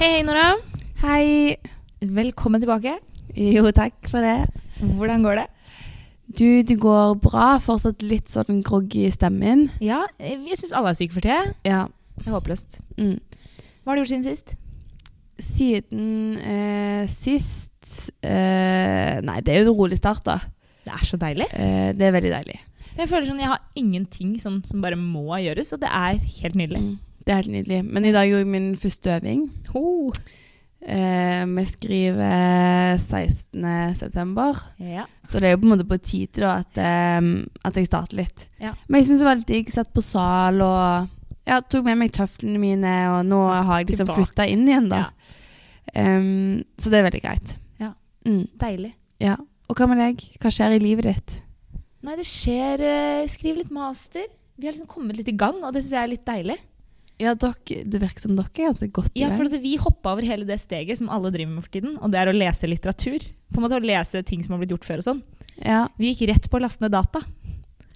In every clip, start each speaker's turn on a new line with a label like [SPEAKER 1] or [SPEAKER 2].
[SPEAKER 1] Hei, hei, Nora.
[SPEAKER 2] Hei.
[SPEAKER 1] Velkommen tilbake.
[SPEAKER 2] Jo, takk for det.
[SPEAKER 1] Hvordan går det?
[SPEAKER 2] Du, det går bra. Fortsatt litt sånn groggy i stemmen.
[SPEAKER 1] Ja, jeg syns alle er syke for tida.
[SPEAKER 2] Ja.
[SPEAKER 1] Det er håpløst.
[SPEAKER 2] Mm.
[SPEAKER 1] Hva har du gjort siden sist?
[SPEAKER 2] Siden eh, sist eh, Nei, det er jo en rolig start, da.
[SPEAKER 1] Det er så deilig.
[SPEAKER 2] Eh, det er veldig deilig.
[SPEAKER 1] Jeg føler sånn, jeg har ingenting sånn, som bare må gjøres, og det er helt nydelig.
[SPEAKER 2] Mm. Det er helt nydelig. Men i dag gjorde jeg min første øving.
[SPEAKER 1] Mm. Ho.
[SPEAKER 2] Eh, vi skriver 16. september,
[SPEAKER 1] Ja.
[SPEAKER 2] så det er jo på en måte på tide da, at, eh, at jeg starter litt.
[SPEAKER 1] Ja.
[SPEAKER 2] Men jeg syns det var litt digg. Satt på sal og ja, tok med meg tøflene mine, og nå har jeg liksom
[SPEAKER 1] Tilbake.
[SPEAKER 2] flytta inn igjen, da. Em, så det er veldig greit.
[SPEAKER 1] Ja.
[SPEAKER 2] Mm,
[SPEAKER 1] Deilig.
[SPEAKER 2] ja. Og hva med deg? Hva skjer i livet ditt?
[SPEAKER 1] Nei, det skjer eh, Skriv litt master. Vi har liksom kommet litt i gang, og det syns jeg er litt deilig.
[SPEAKER 2] Ja, dere, Det virker som dere er altså godt i
[SPEAKER 1] Ja, for
[SPEAKER 2] gang.
[SPEAKER 1] at vi hoppa over hele det steget som alle driver med for tiden, og det er å lese litteratur. På en måte å lese ting som har blitt gjort før og sånn.
[SPEAKER 2] Ja.
[SPEAKER 1] Vi gikk rett på å laste ned data.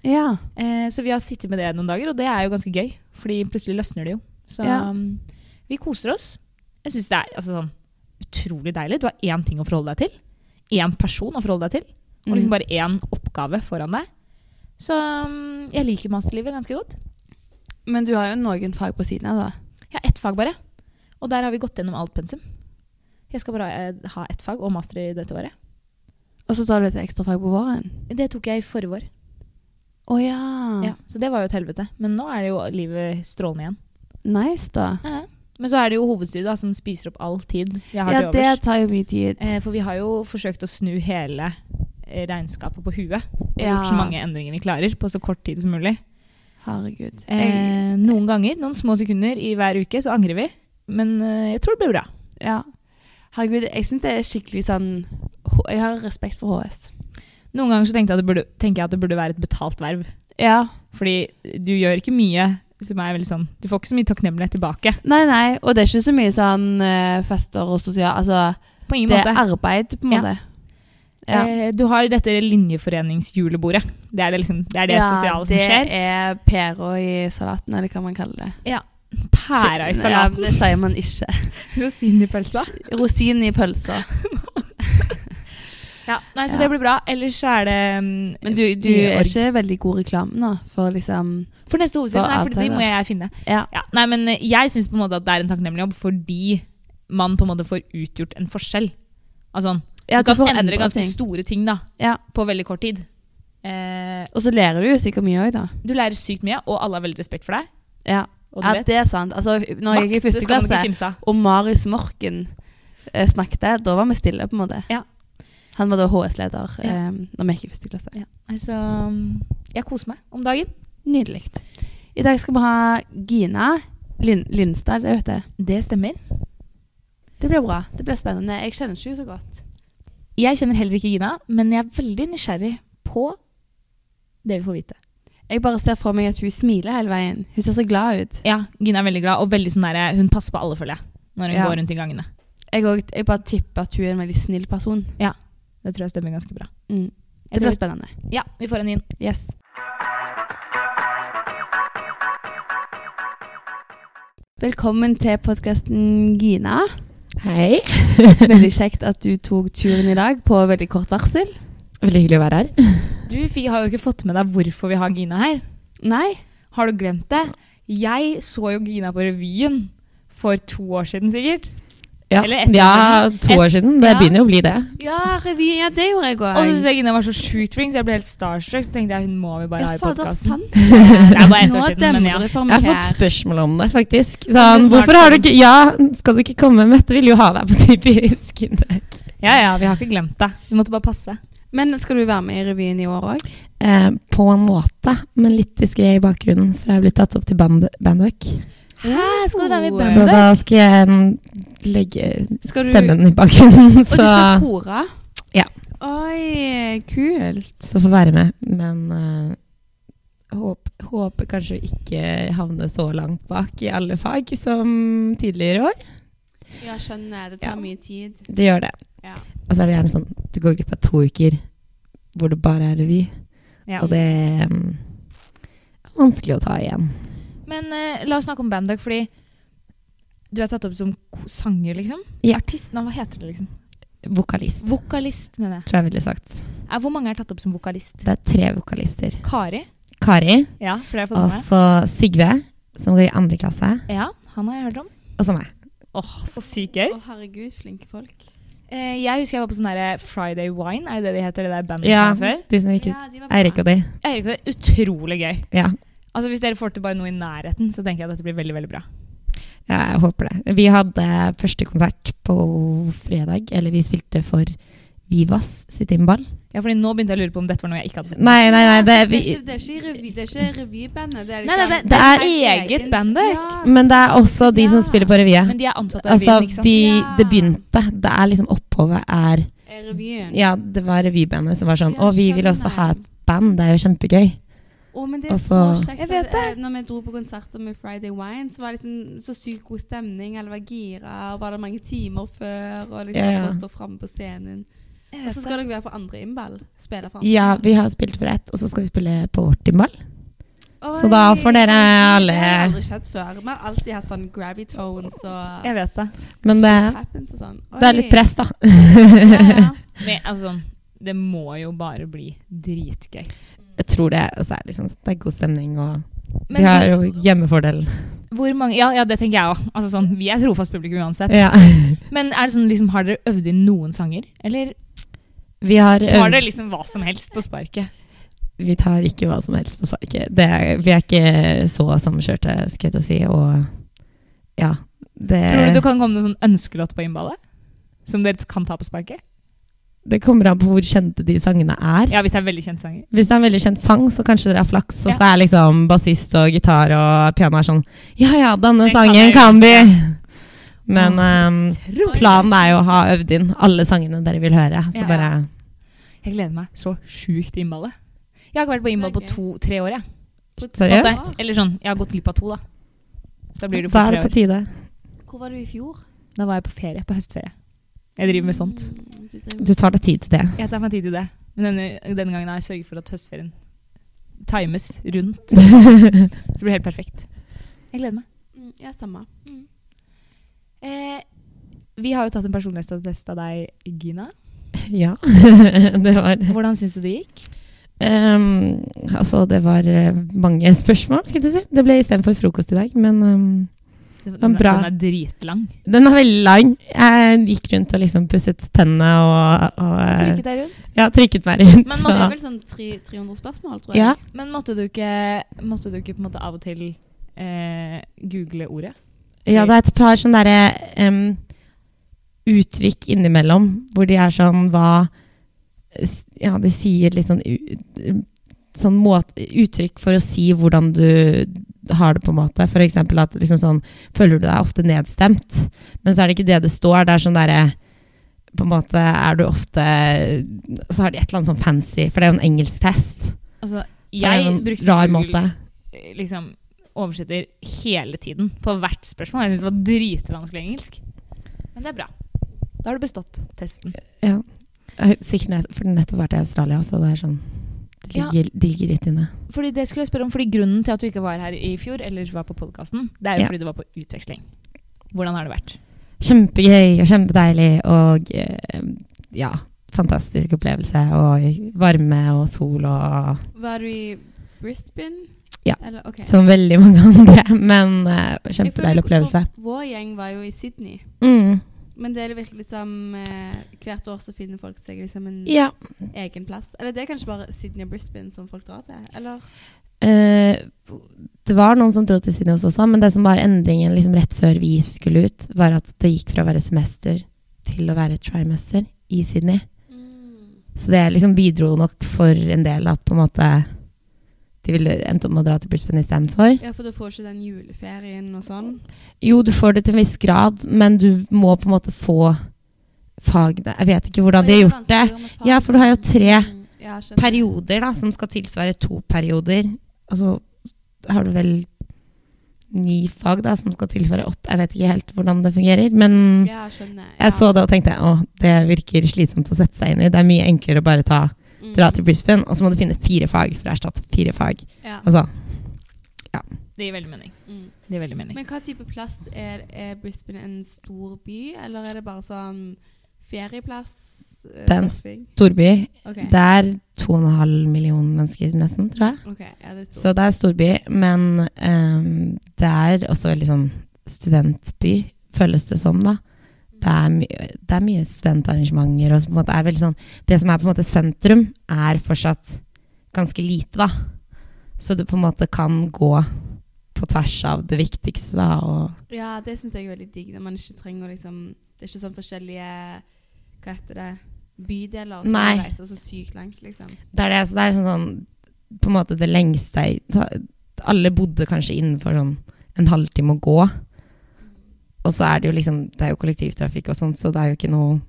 [SPEAKER 2] ja.
[SPEAKER 1] Eh, så vi har sittet med det noen dager, og det er jo ganske gøy. Fordi plutselig løsner det jo. Så
[SPEAKER 2] Ja.
[SPEAKER 1] um, vi koser oss. Jeg syns det er altså, sånn utrolig deilig. Du har én ting å forholde deg til. Én person å forholde deg til. Og liksom
[SPEAKER 2] Mm.
[SPEAKER 1] bare én oppgave foran deg. Så um, jeg liker masterlivet ganske godt.
[SPEAKER 2] Mm. Men du har jo noen fag på siden av, da.
[SPEAKER 1] Jeg har ett fag bare. Og der har vi gått gjennom alt pensum. Jeg skal bare eh, ha ett fag og master i dette året.
[SPEAKER 2] Og så tar du et ekstrafag på våren.
[SPEAKER 1] Det tok jeg i forrige år.
[SPEAKER 2] Å ja.
[SPEAKER 1] Ja, så det var jo et helvete. Men nå er det jo livet strålende igjen.
[SPEAKER 2] Nice, da.
[SPEAKER 1] Ja. Men så er det jo hovedstudiet da, som spiser opp all tid jeg har
[SPEAKER 2] Ja,
[SPEAKER 1] til
[SPEAKER 2] det
[SPEAKER 1] overs.
[SPEAKER 2] tar jo mye tid.
[SPEAKER 1] Eh, For vi har jo forsøkt å snu hele eh, regnskapet på huet. Og
[SPEAKER 2] Ja.
[SPEAKER 1] gjort så mange endringer vi klarer på så kort tid som mulig.
[SPEAKER 2] Herregud. Jeg,
[SPEAKER 1] Eh, noen ganger, noen små sekunder i hver uke, så angrer vi. Men eh, jeg tror det blir bra.
[SPEAKER 2] ja. Herregud, jeg syns det er skikkelig sånn H- Jeg har respekt for HS.
[SPEAKER 1] Noen ganger så tenkte jeg at det burde, tenker jeg at det burde være et betalt verv.
[SPEAKER 2] Ja.
[SPEAKER 1] Fordi du gjør ikke mye som er veldig sånn Du får ikke så mye takknemlighet tilbake.
[SPEAKER 2] Nei, nei. Og det er ikke så mye sånn eh, fester og sosial Altså,
[SPEAKER 1] På ingen
[SPEAKER 2] det er
[SPEAKER 1] måte.
[SPEAKER 2] arbeid, på en
[SPEAKER 1] Ja.
[SPEAKER 2] måte. Ja.
[SPEAKER 1] Eh, du har dette linjeforeningsjulebordet. Det er det, liksom, det, er det sosiale som skjer.
[SPEAKER 2] Det er pæra i salaten, eller hva man kaller det.
[SPEAKER 1] Pæra i salaten.
[SPEAKER 2] Ja, det sier man ikke.
[SPEAKER 1] Rosin i pølsa.
[SPEAKER 2] Rosinen i pølsa.
[SPEAKER 1] Ja, nei, så
[SPEAKER 2] Ja.
[SPEAKER 1] det blir bra. Ellers så er det mm,
[SPEAKER 2] Men du, du
[SPEAKER 1] mye
[SPEAKER 2] er
[SPEAKER 1] org.
[SPEAKER 2] ikke veldig god reklame nå, for liksom
[SPEAKER 1] For neste hovedside,
[SPEAKER 2] For
[SPEAKER 1] nei, for de
[SPEAKER 2] outsider.
[SPEAKER 1] må jeg finne.
[SPEAKER 2] Ja.
[SPEAKER 1] Ja, nei, men eh, jeg syns på en måte at det er en takknemlig jobb fordi man på en måte får utgjort en forskjell. Altså,
[SPEAKER 2] ja
[SPEAKER 1] du kan
[SPEAKER 2] får
[SPEAKER 1] endre,
[SPEAKER 2] endre
[SPEAKER 1] ganske
[SPEAKER 2] ting.
[SPEAKER 1] store ting da,
[SPEAKER 2] Ja.
[SPEAKER 1] på veldig kort tid. Eh,
[SPEAKER 2] Og så lærer du jo sikkert mye òg, da.
[SPEAKER 1] du lærer sykt mye, og alle har veldig respekt for deg.
[SPEAKER 2] Ja.
[SPEAKER 1] Og du
[SPEAKER 2] ja,
[SPEAKER 1] vet,
[SPEAKER 2] det er sant. Altså, når jeg
[SPEAKER 1] makt, det
[SPEAKER 2] gikk i første
[SPEAKER 1] skal man
[SPEAKER 2] klasse,
[SPEAKER 1] ikke kimse av.
[SPEAKER 2] og Marius Morken eh, snakket, da var vi stille, på en måte.
[SPEAKER 1] Ja.
[SPEAKER 2] Han var da HS-leder
[SPEAKER 1] Ja.
[SPEAKER 2] eh, når vi gikk i første klasse.
[SPEAKER 1] Ja, nei, så, mm, jeg koser meg om dagen.
[SPEAKER 2] Nydelig. I dag skal vi ha Gina Lin Lindstad, det vet jeg.
[SPEAKER 1] Det stemmer.
[SPEAKER 2] Det blir bra. Det blir spennende. Jeg kjenner ikke henne så godt.
[SPEAKER 1] Jeg kjenner heller ikke Gina, men jeg er veldig nysgjerrig på det vi får vite.
[SPEAKER 2] Jeg bare ser for meg at hun smiler hele veien. Hun ser så glad ut.
[SPEAKER 1] Ja, Gina er veldig glad, og veldig sånn der, hun passer på alle, føler jeg. Når hun
[SPEAKER 2] Ja.
[SPEAKER 1] går rundt i gangene.
[SPEAKER 2] Jeg, og, jeg bare tipper at hun er en veldig snill person.
[SPEAKER 1] Det tror jeg stemmer ganske bra.
[SPEAKER 2] Mm.
[SPEAKER 1] Jeg
[SPEAKER 2] Det blir
[SPEAKER 1] tror,
[SPEAKER 2] spennende.
[SPEAKER 1] ja, vi får en inn.
[SPEAKER 2] Yes. Velkommen til podkasten Gina.
[SPEAKER 3] Hei.
[SPEAKER 2] Veldig kjekt at du tok turen i dag på veldig kort varsel.
[SPEAKER 3] Veldig hyggelig å være her.
[SPEAKER 1] Du fikk, har jo ikke fått med deg hvorfor vi har Gina her.
[SPEAKER 2] Nei?
[SPEAKER 1] Har du glemt det? Jeg så jo Gina på revyen for to år siden, sikkert.
[SPEAKER 3] Ja,
[SPEAKER 1] Eller etter-
[SPEAKER 3] ja to år siden. Det
[SPEAKER 1] Ja.
[SPEAKER 3] begynner jo å bli det.
[SPEAKER 2] Ja, revy. Ja, det gjorde jeg
[SPEAKER 1] Og så synes jeg Gina var så sjukt flink, så jeg ble helt starstruck. Så tenkte jeg hun må vi bare
[SPEAKER 2] Ja,
[SPEAKER 1] ha i
[SPEAKER 2] fader,
[SPEAKER 1] podkasten.
[SPEAKER 2] sant.
[SPEAKER 1] Det er bare ett
[SPEAKER 2] Nå
[SPEAKER 1] år siden, men ja.
[SPEAKER 2] demrer det for
[SPEAKER 3] Jeg
[SPEAKER 2] meg
[SPEAKER 3] har fått
[SPEAKER 2] her.
[SPEAKER 3] spørsmål om det, faktisk.
[SPEAKER 2] Kan du snart
[SPEAKER 3] Sånn, hvorfor har du
[SPEAKER 2] komme?
[SPEAKER 3] ikke Ja, skal du ikke komme? Mette vil jo ha deg på typisk inntak.
[SPEAKER 1] Ja, ja, vi har ikke glemt deg. Du måtte bare passe.
[SPEAKER 2] Men skal du være med i revyen i år òg?
[SPEAKER 3] Eh, på en måte, men litt diskré i bakgrunnen, for jeg har blitt tatt opp til band Bandøk.
[SPEAKER 1] Hæ, skal du være med i
[SPEAKER 3] Så
[SPEAKER 1] bandet?
[SPEAKER 3] da skal jeg mm, legge
[SPEAKER 2] Skal du-
[SPEAKER 3] stemmen i bakgrunnen,
[SPEAKER 2] Og du
[SPEAKER 3] så,
[SPEAKER 2] skal kore?
[SPEAKER 3] Ja.
[SPEAKER 2] Oi, kult.
[SPEAKER 3] så får være med. Men eh, håp, håper kanskje å ikke havne så langt bak i alle fag som tidligere år.
[SPEAKER 2] Ja, skjønner. Det tar
[SPEAKER 3] Ja.
[SPEAKER 2] mye tid.
[SPEAKER 3] Det gjør det.
[SPEAKER 2] Ja.
[SPEAKER 3] Og så er det gjerne sånn du går glipp av to uker hvor det bare er revy,
[SPEAKER 1] Ja.
[SPEAKER 3] og det mm, er vanskelig å ta igjen.
[SPEAKER 1] Men eh, la oss snakke om Bandok, fordi du er tatt opp som ko- sanger, liksom.
[SPEAKER 3] Ja.
[SPEAKER 1] Artisten, hva heter det, liksom?
[SPEAKER 3] Vokalist,
[SPEAKER 1] Vokalist, mener jeg.
[SPEAKER 3] tror jeg ville sagt.
[SPEAKER 1] Eh, Hvor mange er tatt opp som vokalist?
[SPEAKER 3] Det er tre vokalister.
[SPEAKER 1] Kari.
[SPEAKER 3] Kari,
[SPEAKER 1] Ja, for det har jeg fått
[SPEAKER 3] og
[SPEAKER 1] med meg.
[SPEAKER 3] så Sigve, som går i andre klasse,
[SPEAKER 1] Ja, han har jeg hørt om.
[SPEAKER 3] og så meg.
[SPEAKER 1] Åh, så sykt gøy.
[SPEAKER 2] Å, herregud, flinke folk.
[SPEAKER 1] Eh, jeg husker jeg var på sånn der Friday Wine, er det det de heter, det der bandet
[SPEAKER 3] Ja,
[SPEAKER 1] som var før?
[SPEAKER 3] de som ikke
[SPEAKER 2] Ja, de var bra.
[SPEAKER 3] Eirik og de.
[SPEAKER 1] Jeg hører ikke det. Utrolig gøy.
[SPEAKER 3] Ja.
[SPEAKER 1] Altså Hvis dere får til bare noe i nærheten, så tenker jeg at dette blir veldig veldig bra.
[SPEAKER 3] Ja, jeg håper det. Vi hadde første konsert på fredag, eller vi spilte for Vivas sitt innball.
[SPEAKER 1] Ja, fordi Nå begynte jeg å lure på om dette var noe jeg ikke hadde
[SPEAKER 3] Nei, nei, nei, det, er vi,
[SPEAKER 2] ikke- det er ikke revy- det er ikke revybandet. Det er,
[SPEAKER 1] Nei, nei, det- det
[SPEAKER 3] er
[SPEAKER 2] helt
[SPEAKER 1] eget
[SPEAKER 2] egen-
[SPEAKER 1] band, det.
[SPEAKER 2] Ja,
[SPEAKER 3] men det er også de som
[SPEAKER 2] Ja.
[SPEAKER 3] spiller på revyet.
[SPEAKER 1] Men de er ansatt av
[SPEAKER 3] Altså,
[SPEAKER 1] byen, ikke sant?
[SPEAKER 3] de,
[SPEAKER 2] Ja.
[SPEAKER 3] det begynte. Det er liksom opphavet er
[SPEAKER 2] er revyen.
[SPEAKER 3] Ja, det var revybandet som var sånn
[SPEAKER 2] Ja,
[SPEAKER 3] Å, vi vil også
[SPEAKER 2] skjønner.
[SPEAKER 3] ha et band. Det er jo kjempegøy.
[SPEAKER 2] Å, men det er
[SPEAKER 3] Altså-
[SPEAKER 2] så kjekt.
[SPEAKER 1] Jeg vet
[SPEAKER 2] at, eh, Når vi dro på konserter med Friday Wine, så var det liksom så sykt god stemning. Alle var gira, og var det mange timer før, og liksom
[SPEAKER 3] Ja, ja.
[SPEAKER 2] for å stå framme på scenen. Og så skal dere være på andre innball. Spille for andre
[SPEAKER 3] Ja,
[SPEAKER 2] innball.
[SPEAKER 3] vi har spilt for ett, og så skal vi spille på vårt innball. så
[SPEAKER 2] Oi,
[SPEAKER 3] da får dere alle-
[SPEAKER 2] Det har aldri skjedd før. Vi har alltid hatt sånn gravitones og
[SPEAKER 1] Jeg vet det.
[SPEAKER 3] Men det,
[SPEAKER 2] shit happens og sånn.
[SPEAKER 3] det er litt
[SPEAKER 2] Oi.
[SPEAKER 3] press, da.
[SPEAKER 2] Ja, ja.
[SPEAKER 1] Men, altså, det må jo bare bli dritgøy.
[SPEAKER 3] Jeg tror det. Og så er det liksom sånn, Det er god stemning, og
[SPEAKER 1] Men
[SPEAKER 3] vi har jo hjemmefordelen.
[SPEAKER 1] hvor mange Ja, ja det tenker jeg òg. Altså, sånn, vi er trofast publikum uansett.
[SPEAKER 3] Ja.
[SPEAKER 1] Men er det sånn, liksom, har dere øvd inn noen sanger? Eller
[SPEAKER 3] Vi har
[SPEAKER 1] tar dere liksom hva som helst på sparket?
[SPEAKER 3] Vi tar ikke hva som helst på sparket. Det er, vi er ikke så samkjørte, skal jeg til å si. Og ja, det,
[SPEAKER 1] Tror du det kan komme noen sånn ønskelåt på innballet? Som dere kan ta på sparket?
[SPEAKER 3] det kommer an på hvor kjente de sangene er.
[SPEAKER 1] Ja, hvis det er veldig kjente sanger.
[SPEAKER 3] Hvis det er en veldig kjent sang, så kanskje dere har flaks, og
[SPEAKER 1] Ja.
[SPEAKER 3] så er liksom bassist og gitar og piano er sånn Ja ja, denne
[SPEAKER 1] Den kan
[SPEAKER 3] sangen
[SPEAKER 1] jeg
[SPEAKER 3] kan vi!
[SPEAKER 1] huske.
[SPEAKER 3] Men ehm,
[SPEAKER 1] Utrolig.
[SPEAKER 3] planen er jo å ha øvd inn alle sangene dere vil høre. Så
[SPEAKER 1] Ja.
[SPEAKER 3] bare
[SPEAKER 1] Jeg gleder meg så sjukt til innballet. Jeg har ikke vært på innball på
[SPEAKER 2] Det er gøy.
[SPEAKER 1] to-tre år. Jeg.
[SPEAKER 3] Seriøst?
[SPEAKER 1] Åtte. Eller sånn, jeg har gått glipp av to, da. Så da blir det jo
[SPEAKER 3] Da
[SPEAKER 1] fort
[SPEAKER 3] er det
[SPEAKER 1] tre år.
[SPEAKER 3] på tide.
[SPEAKER 2] Hvor var du i fjor?
[SPEAKER 1] Da var jeg på ferie, på høstferie. Jeg driver med sånt.
[SPEAKER 2] Mm, Du driver med
[SPEAKER 3] Du tar deg tid til det.
[SPEAKER 1] Jeg tar meg tid til det. Men denne, denne gangen har jeg sørget for at høstferien times rundt. Så det blir helt perfekt. Jeg gleder meg.
[SPEAKER 2] Mm, Ja, samme.
[SPEAKER 1] Eh, vi har jo tatt en personlighetstest av deg, Gina.
[SPEAKER 3] Ja. det var
[SPEAKER 1] Hvordan syns du det gikk?
[SPEAKER 3] Ehm, altså, det var eh, mange spørsmål, skal jeg til å si. Det ble istedenfor frokost i dag, men ehm,
[SPEAKER 1] Den,
[SPEAKER 3] var bra.
[SPEAKER 1] den er dritlang.
[SPEAKER 3] den er veldig lang. Jeg gikk rundt og liksom pusset tennene og, og eh,
[SPEAKER 1] Trykket deg rundt.
[SPEAKER 3] ja, trykket meg rundt.
[SPEAKER 1] Men
[SPEAKER 2] Det er
[SPEAKER 1] Ja.
[SPEAKER 2] vel sånn tre- 300 spørsmål, tror jeg.
[SPEAKER 3] ja,
[SPEAKER 1] Men måtte du ikke, måtte du ikke på en måte av og til eh, google ordet?
[SPEAKER 3] ja, det er et par sånne derre ehm, uttrykk innimellom hvor de er sånn hva Ja, de sier litt sånn, u- sånn måte, uttrykk for å si hvordan du har det, på en måte. For eksempel at liksom sånn Føler du deg ofte nedstemt? Men så er det ikke det det står. Det er sånn derre På en måte er du ofte Så har de et eller annet sånn fancy, for det er jo en engelsk test.
[SPEAKER 1] Altså,
[SPEAKER 3] Så det er
[SPEAKER 1] jeg
[SPEAKER 3] en
[SPEAKER 1] brukte
[SPEAKER 3] rar
[SPEAKER 1] Google
[SPEAKER 3] måte.
[SPEAKER 1] eh, liksom, oversetter hele tiden på hvert spørsmål. Jeg syns det var dritvanskelig engelsk. Men det er bra. Da har du bestått testen.
[SPEAKER 3] Ja. Jeg er Sikkert nett, for den har nettopp vært i Australia, så det er sånn Det
[SPEAKER 1] Ja.
[SPEAKER 3] ligger, det ligger litt inne.
[SPEAKER 1] Fordi det skulle jeg spørre om, fordi Grunnen til at du ikke var her i fjor, eller var på podkasten, det er jo
[SPEAKER 3] Ja.
[SPEAKER 1] fordi du var på utveksling. Hvordan har det vært?
[SPEAKER 3] Kjempegøy og kjempedeilig og eh, ja, fantastisk opplevelse. Og varme og sol og
[SPEAKER 2] Var du i Brisbane?
[SPEAKER 3] Ja.
[SPEAKER 2] Eller, ok.
[SPEAKER 3] som veldig mange andre. Men eh,
[SPEAKER 2] Jeg føler
[SPEAKER 3] kjempedeilig opplevelse.
[SPEAKER 2] for Vår gjeng var jo i Sydney.
[SPEAKER 3] Mm.
[SPEAKER 2] Men det er virkelig liksom eh, Hvert år så finner folk seg liksom en
[SPEAKER 3] Ja.
[SPEAKER 2] egen plass. Eller det er kanskje bare Sydney og Brisbane som folk drar til? Eller?
[SPEAKER 3] Eh, det var noen som dro til Sydney hos oss også, men det som var endringen liksom rett før vi skulle ut, var at det gikk fra å være semester til å være trimester i Sydney. Så det liksom bidro nok for en del at på en måte de ville endte opp med å dra til Brisbane istedenfor.
[SPEAKER 2] Ja, for da får du ikke den juleferien og sånn.
[SPEAKER 3] Jo, du får det til en viss grad, men du må på en måte få fagene Jeg vet ikke hvordan de har gjort det. Ja, for du har jo tre
[SPEAKER 2] Mm, ja, skjønner.
[SPEAKER 3] perioder da, som skal tilsvare to perioder. Altså, da har du vel ni fag da, som skal tilføre åtte. Jeg vet ikke helt hvordan det fungerer, men
[SPEAKER 2] Ja, skjønner.
[SPEAKER 3] jeg så det og tenkte å, det virker slitsomt å sette seg inn i. Det er mye enklere å bare ta,
[SPEAKER 2] Mm.
[SPEAKER 3] dra til Brisbane, og så må du finne fire fag for å erstatte fire fag.
[SPEAKER 2] Ja.
[SPEAKER 3] Altså,
[SPEAKER 1] Det gir veldig mening.
[SPEAKER 2] Mm.
[SPEAKER 1] Det gir veldig mening.
[SPEAKER 2] Men hva type plass er, er Brisbane en stor by, eller er det bare sånn ferieplass? eh,
[SPEAKER 3] Det er en
[SPEAKER 2] surfing?
[SPEAKER 3] storby,
[SPEAKER 2] Ok,
[SPEAKER 3] det er 2,5 millioner mennesker nesten, tror jeg.
[SPEAKER 2] ok, ja, det er
[SPEAKER 3] Så
[SPEAKER 2] stor.
[SPEAKER 3] det er storby, men ehm, det er også veldig sånn studentby, føles det som, da. Det er, my det er mye studentarrangementer, og så på en måte er veldig sånn Det som er på en måte sentrum, er fortsatt ganske lite, da. Så du på en måte kan gå på tvers av det viktigste, da, og
[SPEAKER 2] Ja, det syns jeg er veldig digg, når man ikke trenger å liksom Det er ikke sånn forskjellige Hva heter det? Bydeler som
[SPEAKER 3] Nei.
[SPEAKER 2] reiser så sykt langt, liksom.
[SPEAKER 3] Det er det, så det er sånn, sånn På en måte det lengste jeg- da- Alle bodde kanskje innenfor sånn en halvtime å gå. Og så er det jo liksom Det er jo kollektivtrafikk og sånt, så det er jo ikke noe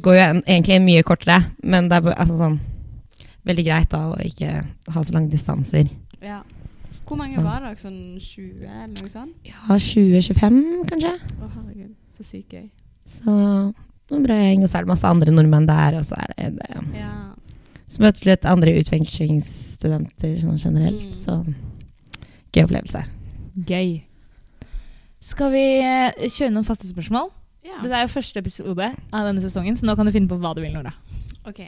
[SPEAKER 3] Går jo en, egentlig mye kortere, men det er bare- altså sånn Veldig greit da å ikke ha så lange distanser.
[SPEAKER 2] Ja. Hvor mange
[SPEAKER 3] Så.
[SPEAKER 2] var dere? Sånn 20, eller noe sånt?
[SPEAKER 3] Ja, 20-25 kanskje.
[SPEAKER 2] Å, herregud. Så sykt gøy.
[SPEAKER 3] Så det var en bra gjeng, og så er det masse andre nordmenn der, og så er det, det
[SPEAKER 2] Ja.
[SPEAKER 3] Så møter du litt andre utvekslingsstudenter sånn generelt,
[SPEAKER 2] Mm.
[SPEAKER 3] så gøy opplevelse.
[SPEAKER 1] Gøy. Skal vi eh, kjøre noen faste spørsmål?
[SPEAKER 2] ja.
[SPEAKER 1] Dette er jo første episode av denne sesongen, så nå kan du finne på hva du vil, Nora.
[SPEAKER 2] OK.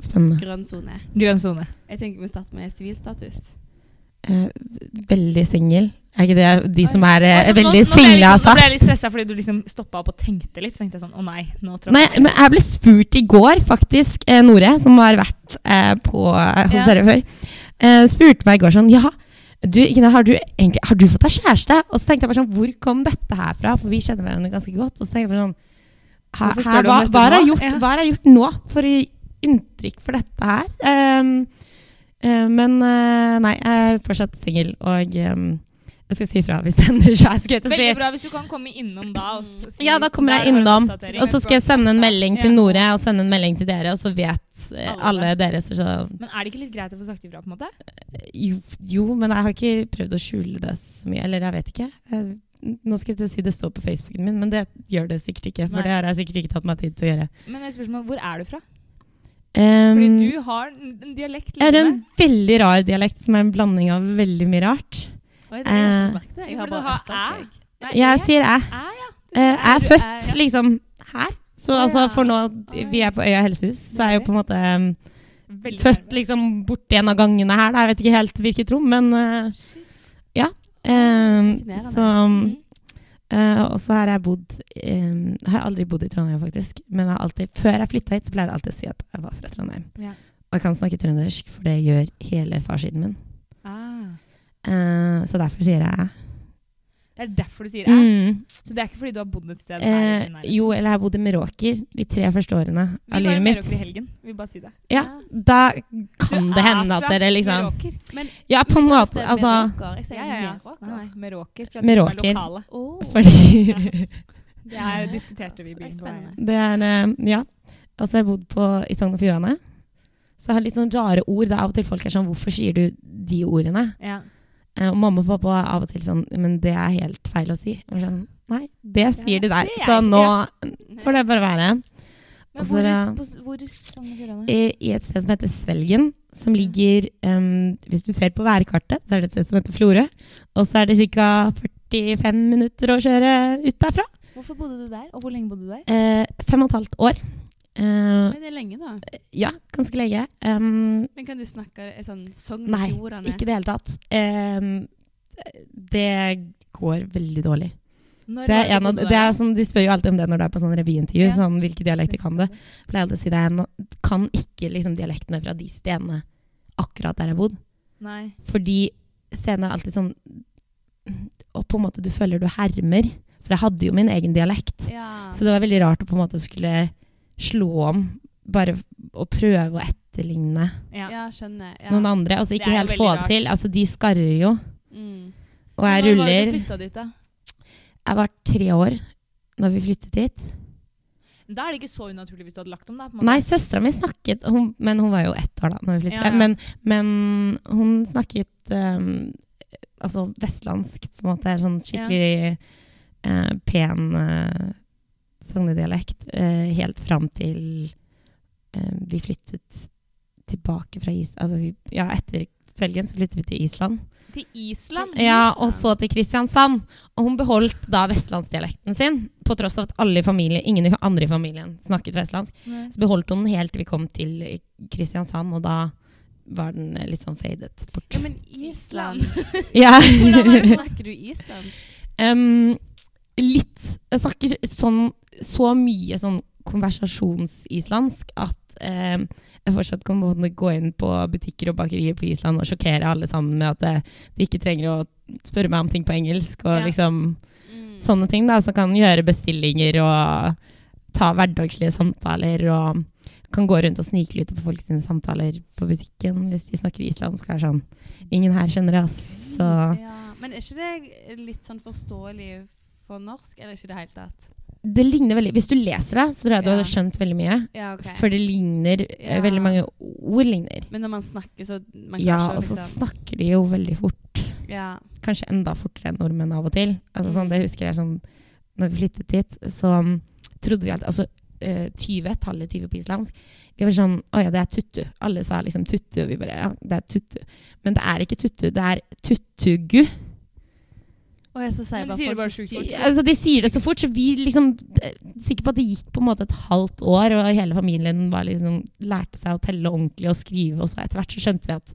[SPEAKER 3] Spennende.
[SPEAKER 2] Grønn sone.
[SPEAKER 1] Grønn sone.
[SPEAKER 2] Jeg tenker vi starter med sivilstatus.
[SPEAKER 3] Eh, veldig singel. Er ikke det de som er eh,
[SPEAKER 1] Nå- nå-
[SPEAKER 3] veldig
[SPEAKER 1] nå ble jeg
[SPEAKER 3] single,
[SPEAKER 1] liksom- Nå ble
[SPEAKER 3] altså. har sagt?
[SPEAKER 1] jeg litt stressa fordi du liksom stoppa opp og tenkte litt. Så tenkte jeg sånn, å nei, nå tror
[SPEAKER 3] Nei,
[SPEAKER 1] jeg
[SPEAKER 3] men jeg ble spurt i går, faktisk, eh, Nore, som har vært eh, på, eh, hos
[SPEAKER 1] Ja.
[SPEAKER 3] dere før, eh, spurte meg i går sånn Ja, du, Ine, har, du egentlig, har du fått deg kjæreste? Og så tenkte jeg bare sånn Hvor kom dette her fra? For vi kjenner hverandre ganske godt. Og så tenkte jeg bare sånn «Hæ-
[SPEAKER 1] Hvorfor spør
[SPEAKER 3] hæ,
[SPEAKER 1] du
[SPEAKER 3] hva,
[SPEAKER 1] om dette
[SPEAKER 3] hva, har jeg
[SPEAKER 1] nå?»
[SPEAKER 3] gjort,
[SPEAKER 1] Ja.
[SPEAKER 3] hva har jeg gjort nå for å gi inntrykk for dette her? Ehm, eh, men eh, nei, jeg er fortsatt singel, og ehm, jeg skal si ifra hvis det endrer seg. Skulle jeg til å si.
[SPEAKER 1] Veldig bra hvis du kan komme innom da. Og s- og si
[SPEAKER 3] Ja, da
[SPEAKER 1] litt-
[SPEAKER 3] kommer
[SPEAKER 1] der har
[SPEAKER 3] jeg
[SPEAKER 1] du
[SPEAKER 3] innom.
[SPEAKER 1] oppdatering.
[SPEAKER 3] Og så skal jeg sende en melding til
[SPEAKER 1] Ja.
[SPEAKER 3] Nore og sende en melding til dere, og så vet eh,
[SPEAKER 1] Alle.
[SPEAKER 3] alle dere så, så
[SPEAKER 1] Men er det ikke litt greit å få sagt ifra, på en måte?
[SPEAKER 3] jo, jo, men jeg har ikke prøvd å skjule det så mye. Eller jeg vet ikke. Jeg- Nå skal jeg til å si det står på Facebooken min, men det gjør det sikkert ikke.
[SPEAKER 1] Nei.
[SPEAKER 3] For det har jeg sikkert ikke tatt meg tid til å gjøre.
[SPEAKER 1] Men et spørsmål, hvor er du fra? Fordi
[SPEAKER 3] Um,
[SPEAKER 1] du har en en dialekt
[SPEAKER 3] jeg har en
[SPEAKER 1] liggende.
[SPEAKER 3] veldig rar dialekt som er en blanding av veldig mye rart.
[SPEAKER 2] Oi, det har jeg
[SPEAKER 3] Eh,
[SPEAKER 2] ikke merket. Jeg
[SPEAKER 1] Hvorfor
[SPEAKER 2] har
[SPEAKER 1] du har
[SPEAKER 2] bare østlandsk. jeg.
[SPEAKER 1] Nei,
[SPEAKER 3] Jeg
[SPEAKER 1] jeg-
[SPEAKER 3] sier æ.
[SPEAKER 1] Æ, ja.
[SPEAKER 3] Eh, Jeg er
[SPEAKER 2] Du er,
[SPEAKER 3] født
[SPEAKER 2] ja.
[SPEAKER 3] liksom her. Så
[SPEAKER 2] Å,
[SPEAKER 3] altså,
[SPEAKER 2] ja.
[SPEAKER 3] for nå
[SPEAKER 2] Oi.
[SPEAKER 3] Vi er på Øya helsehus, så er jeg jo på en måte um,
[SPEAKER 1] Veldig
[SPEAKER 3] Født
[SPEAKER 1] nærme.
[SPEAKER 3] liksom borti en av gangene her. Da. Jeg vet ikke helt hvilket rom, men eh, ja.
[SPEAKER 2] Fascinerende. Mhm.
[SPEAKER 3] Eh, så
[SPEAKER 1] Mm.
[SPEAKER 3] eh, Og så har jeg bodd eh, Har jeg aldri bodd i Trondheim, faktisk. Men jeg har alltid, før jeg flytta hit, så pleide jeg alltid å si at jeg var fra Trondheim.
[SPEAKER 1] Ja.
[SPEAKER 3] Og jeg kan snakke trøndersk, for det gjør hele farssiden min.
[SPEAKER 1] Ah.
[SPEAKER 3] Eh, så derfor sier jeg æ.
[SPEAKER 1] Det er derfor du sier æ.
[SPEAKER 3] Mm.
[SPEAKER 1] Så det er ikke fordi du har bodd et sted her? i
[SPEAKER 3] Eh,
[SPEAKER 1] din nærhet.
[SPEAKER 3] jo, eller jeg bodde i Meråker de tre første årene
[SPEAKER 1] Vi
[SPEAKER 3] av
[SPEAKER 1] var i
[SPEAKER 3] livet mitt.
[SPEAKER 1] Meråker i helgen. Vi bare si det.
[SPEAKER 3] Ja, da kan
[SPEAKER 1] Du
[SPEAKER 3] det
[SPEAKER 1] er
[SPEAKER 3] hende at
[SPEAKER 1] fra
[SPEAKER 3] dere liksom
[SPEAKER 1] Meråker.
[SPEAKER 2] Men
[SPEAKER 3] Ja, på en måte.
[SPEAKER 2] Med
[SPEAKER 3] Altså
[SPEAKER 2] råker. Jeg sier
[SPEAKER 1] Ja, ja, ja.
[SPEAKER 2] meråker.
[SPEAKER 1] Nei, Meråker. Fra Meråker.
[SPEAKER 3] Meråker.
[SPEAKER 1] Lokale.
[SPEAKER 2] Åh,
[SPEAKER 3] fordi
[SPEAKER 1] Det her diskuterte vi i
[SPEAKER 2] det er
[SPEAKER 1] byen på
[SPEAKER 2] spennende.
[SPEAKER 1] veien.
[SPEAKER 3] Det er eh, Ja. Og så har jeg bodd på, i Sogn og Fjordane. Så jeg har litt sånn rare ord. Det er av og til folk er sånn Hvorfor sier du de ordene?
[SPEAKER 1] Ja.
[SPEAKER 3] Eh, og mamma og pappa er av og til sånn Men det er helt feil å si. Og jeg er sånn, Nei, det sier de der.
[SPEAKER 1] det er
[SPEAKER 3] Så
[SPEAKER 1] jeg-
[SPEAKER 3] nå
[SPEAKER 1] ja. Mm.
[SPEAKER 3] får det bare være.
[SPEAKER 1] Men
[SPEAKER 3] Og så
[SPEAKER 1] hvor,
[SPEAKER 3] er
[SPEAKER 1] er-
[SPEAKER 3] det-
[SPEAKER 1] på
[SPEAKER 3] Eh,
[SPEAKER 1] s- hvor i Sogn og Fjordane?
[SPEAKER 3] I, I et sted som heter Svelgen, som ligger em, Hvis du ser på værkartet, så er det et sted som heter Florø. Og så er det ca. 45 minutter å kjøre ut derfra.
[SPEAKER 1] Hvorfor bodde du der, og hvor lenge bodde du der?
[SPEAKER 3] Eh, fem og et halvt år. Eh,
[SPEAKER 2] Oi, det er lenge, da.
[SPEAKER 3] ja, ganske lenge. Um,
[SPEAKER 2] Men kan du snakke eh, sånn Sogn og
[SPEAKER 3] Nei,
[SPEAKER 2] Fjordane?
[SPEAKER 3] Ikke i det hele tatt. Ehm, det går veldig dårlig.
[SPEAKER 1] Når
[SPEAKER 3] Det
[SPEAKER 1] var
[SPEAKER 3] er
[SPEAKER 1] du
[SPEAKER 3] en av,
[SPEAKER 1] bodde
[SPEAKER 3] det
[SPEAKER 1] der?
[SPEAKER 3] er sånn, de spør jo alltid om det når du er på sånn revyintervju.
[SPEAKER 1] Ja.
[SPEAKER 3] Sånn, hvilke dialekter kan du? Jeg Pleier alltid å si det. Jeg nå- kan ikke liksom, dialektene fra de stedene akkurat der jeg har bodd.
[SPEAKER 1] Nei.
[SPEAKER 3] Fordi stedene er alltid sånn Og på en måte du føler du hermer. For jeg hadde jo min egen dialekt.
[SPEAKER 2] Ja.
[SPEAKER 3] Så det var veldig rart å på en måte skulle slå om. Bare å prøve å etterligne
[SPEAKER 1] Ja.
[SPEAKER 2] ja, skjønner. Ja.
[SPEAKER 3] noen andre. Og så
[SPEAKER 1] Det
[SPEAKER 3] ikke
[SPEAKER 1] er jo
[SPEAKER 3] helt
[SPEAKER 1] veldig
[SPEAKER 3] få
[SPEAKER 1] rart.
[SPEAKER 3] det til. Altså, de skarrer jo.
[SPEAKER 2] Mm.
[SPEAKER 1] Når
[SPEAKER 3] Og jeg
[SPEAKER 1] var det
[SPEAKER 3] ruller
[SPEAKER 1] du flytta dit, da?
[SPEAKER 3] Jeg var tre år når vi flyttet hit.
[SPEAKER 1] Da er det ikke så unaturlig hvis du hadde lagt om, da. på en måte.
[SPEAKER 3] Nei, søstera mi snakket hun, Men hun var jo ett år da når vi flyttet.
[SPEAKER 1] Ja, ja.
[SPEAKER 3] Men, men hun snakket um, altså vestlandsk, på en måte. Sånn skikkelig eh, pen eh, sognedialekt. Eh, helt fram til eh, vi flyttet tilbake fra Island altså, vi, Ja, etter Svelgen så flyttet vi til Island.
[SPEAKER 1] Til Island?
[SPEAKER 3] Ja, Og så til Kristiansand. Og hun beholdt da vestlandsdialekten sin, på tross av at alle i familien, ingen i- andre i familien snakket vestlandsk.
[SPEAKER 1] Nei.
[SPEAKER 3] Så beholdt hun den helt til vi kom til Kristiansand, og da var den eh, litt sånn fadet bort.
[SPEAKER 2] Ja, men Island
[SPEAKER 3] Ja.
[SPEAKER 2] Hvordan er det, snakker du islandsk?
[SPEAKER 3] Em, litt Jeg snakker sånn, så mye sånn konversasjonsislandsk at em, jeg fortsatt kan på en måte gå inn på butikker og bakerier på Island og sjokkere alle sammen med at eh, de ikke trenger å spørre meg om ting på engelsk. Og
[SPEAKER 1] Ja.
[SPEAKER 3] liksom
[SPEAKER 2] Mm.
[SPEAKER 3] sånne ting da, som kan gjøre bestillinger og ta hverdagslige samtaler. og kan gå rundt og sniklyte på folk sine samtaler på butikken hvis de snakker islandsk. og er sånn, Ingen her skjønner det, ass. Så
[SPEAKER 2] Ja, men er ikke det litt sånn forståelig for norsk, eller ikke i det hele tatt?
[SPEAKER 3] det ligner veldig Hvis du leser det, så tror jeg du
[SPEAKER 2] Ja.
[SPEAKER 3] hadde skjønt veldig mye.
[SPEAKER 2] Ja, ok.
[SPEAKER 3] For det ligner eh,
[SPEAKER 2] Ja.
[SPEAKER 3] Veldig mange ord ligner.
[SPEAKER 2] Men når man snakker, så man kan
[SPEAKER 3] Ja,
[SPEAKER 2] ikke
[SPEAKER 3] og så
[SPEAKER 2] liksom-
[SPEAKER 3] snakker de jo veldig fort.
[SPEAKER 2] Ja.
[SPEAKER 3] Kanskje enda fortere enn nordmenn av og til. Altså,
[SPEAKER 2] Mm.
[SPEAKER 3] sånn, det husker jeg sånn Når vi flyttet dit, så mm, trodde vi alltid Altså eh, 20, tallet 20 på islandsk. Vi var sånn Å ja, det er tuttu. Alle sa liksom tuttu, og vi bare Ja, det er tuttu. Men det er ikke tuttu, det er tuttugu.
[SPEAKER 2] Og jeg så sier
[SPEAKER 1] Men sier
[SPEAKER 2] bare
[SPEAKER 1] det
[SPEAKER 2] folk
[SPEAKER 1] bare
[SPEAKER 2] det
[SPEAKER 1] sjukt
[SPEAKER 2] sykt.
[SPEAKER 1] fort.
[SPEAKER 3] Altså, de sier det så fort, så vi liksom eh, Sikker på at det gikk på en måte et halvt år, og hele familien var liksom, lærte seg å telle ordentlig og skrive, og så etter hvert så skjønte vi at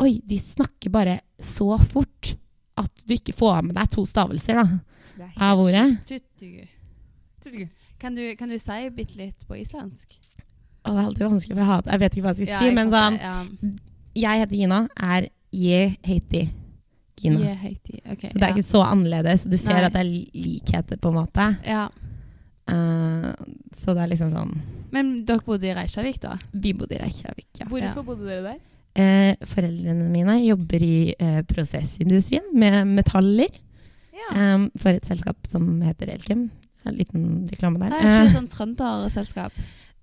[SPEAKER 3] Oi, de snakker bare så fort at du ikke får med deg to stavelser da,
[SPEAKER 1] Det er
[SPEAKER 3] av ordet.
[SPEAKER 2] Tuttugu.
[SPEAKER 1] helt-
[SPEAKER 2] Kan du, kan du si bitte litt på islandsk?
[SPEAKER 3] Og det er alltid vanskelig, for jeg, hater, jeg vet ikke hva jeg skal si.
[SPEAKER 2] jeg
[SPEAKER 3] men
[SPEAKER 2] fatter,
[SPEAKER 3] sånn
[SPEAKER 2] ja.
[SPEAKER 3] Jeg heter Gina, er Jeg heter Gina.
[SPEAKER 2] Yeah, Haiti. Ok,
[SPEAKER 3] Så det er
[SPEAKER 2] ja.
[SPEAKER 3] ikke så annerledes. Du ser
[SPEAKER 2] Nei.
[SPEAKER 3] at det er likheter, på en måte.
[SPEAKER 2] ja.
[SPEAKER 3] Eh, så det er liksom sånn
[SPEAKER 2] Men dere bodde i Reykjavik, da?
[SPEAKER 3] Vi bodde i Reykjavik, ja.
[SPEAKER 1] Hvorfor bodde dere der?
[SPEAKER 3] Eh, foreldrene mine jobber i eh, prosessindustrien med metaller
[SPEAKER 1] Ja.
[SPEAKER 3] em, for et selskap som heter Elkem. En liten reklame
[SPEAKER 2] Det
[SPEAKER 3] der.
[SPEAKER 2] er ikke det sånn trønderselskap?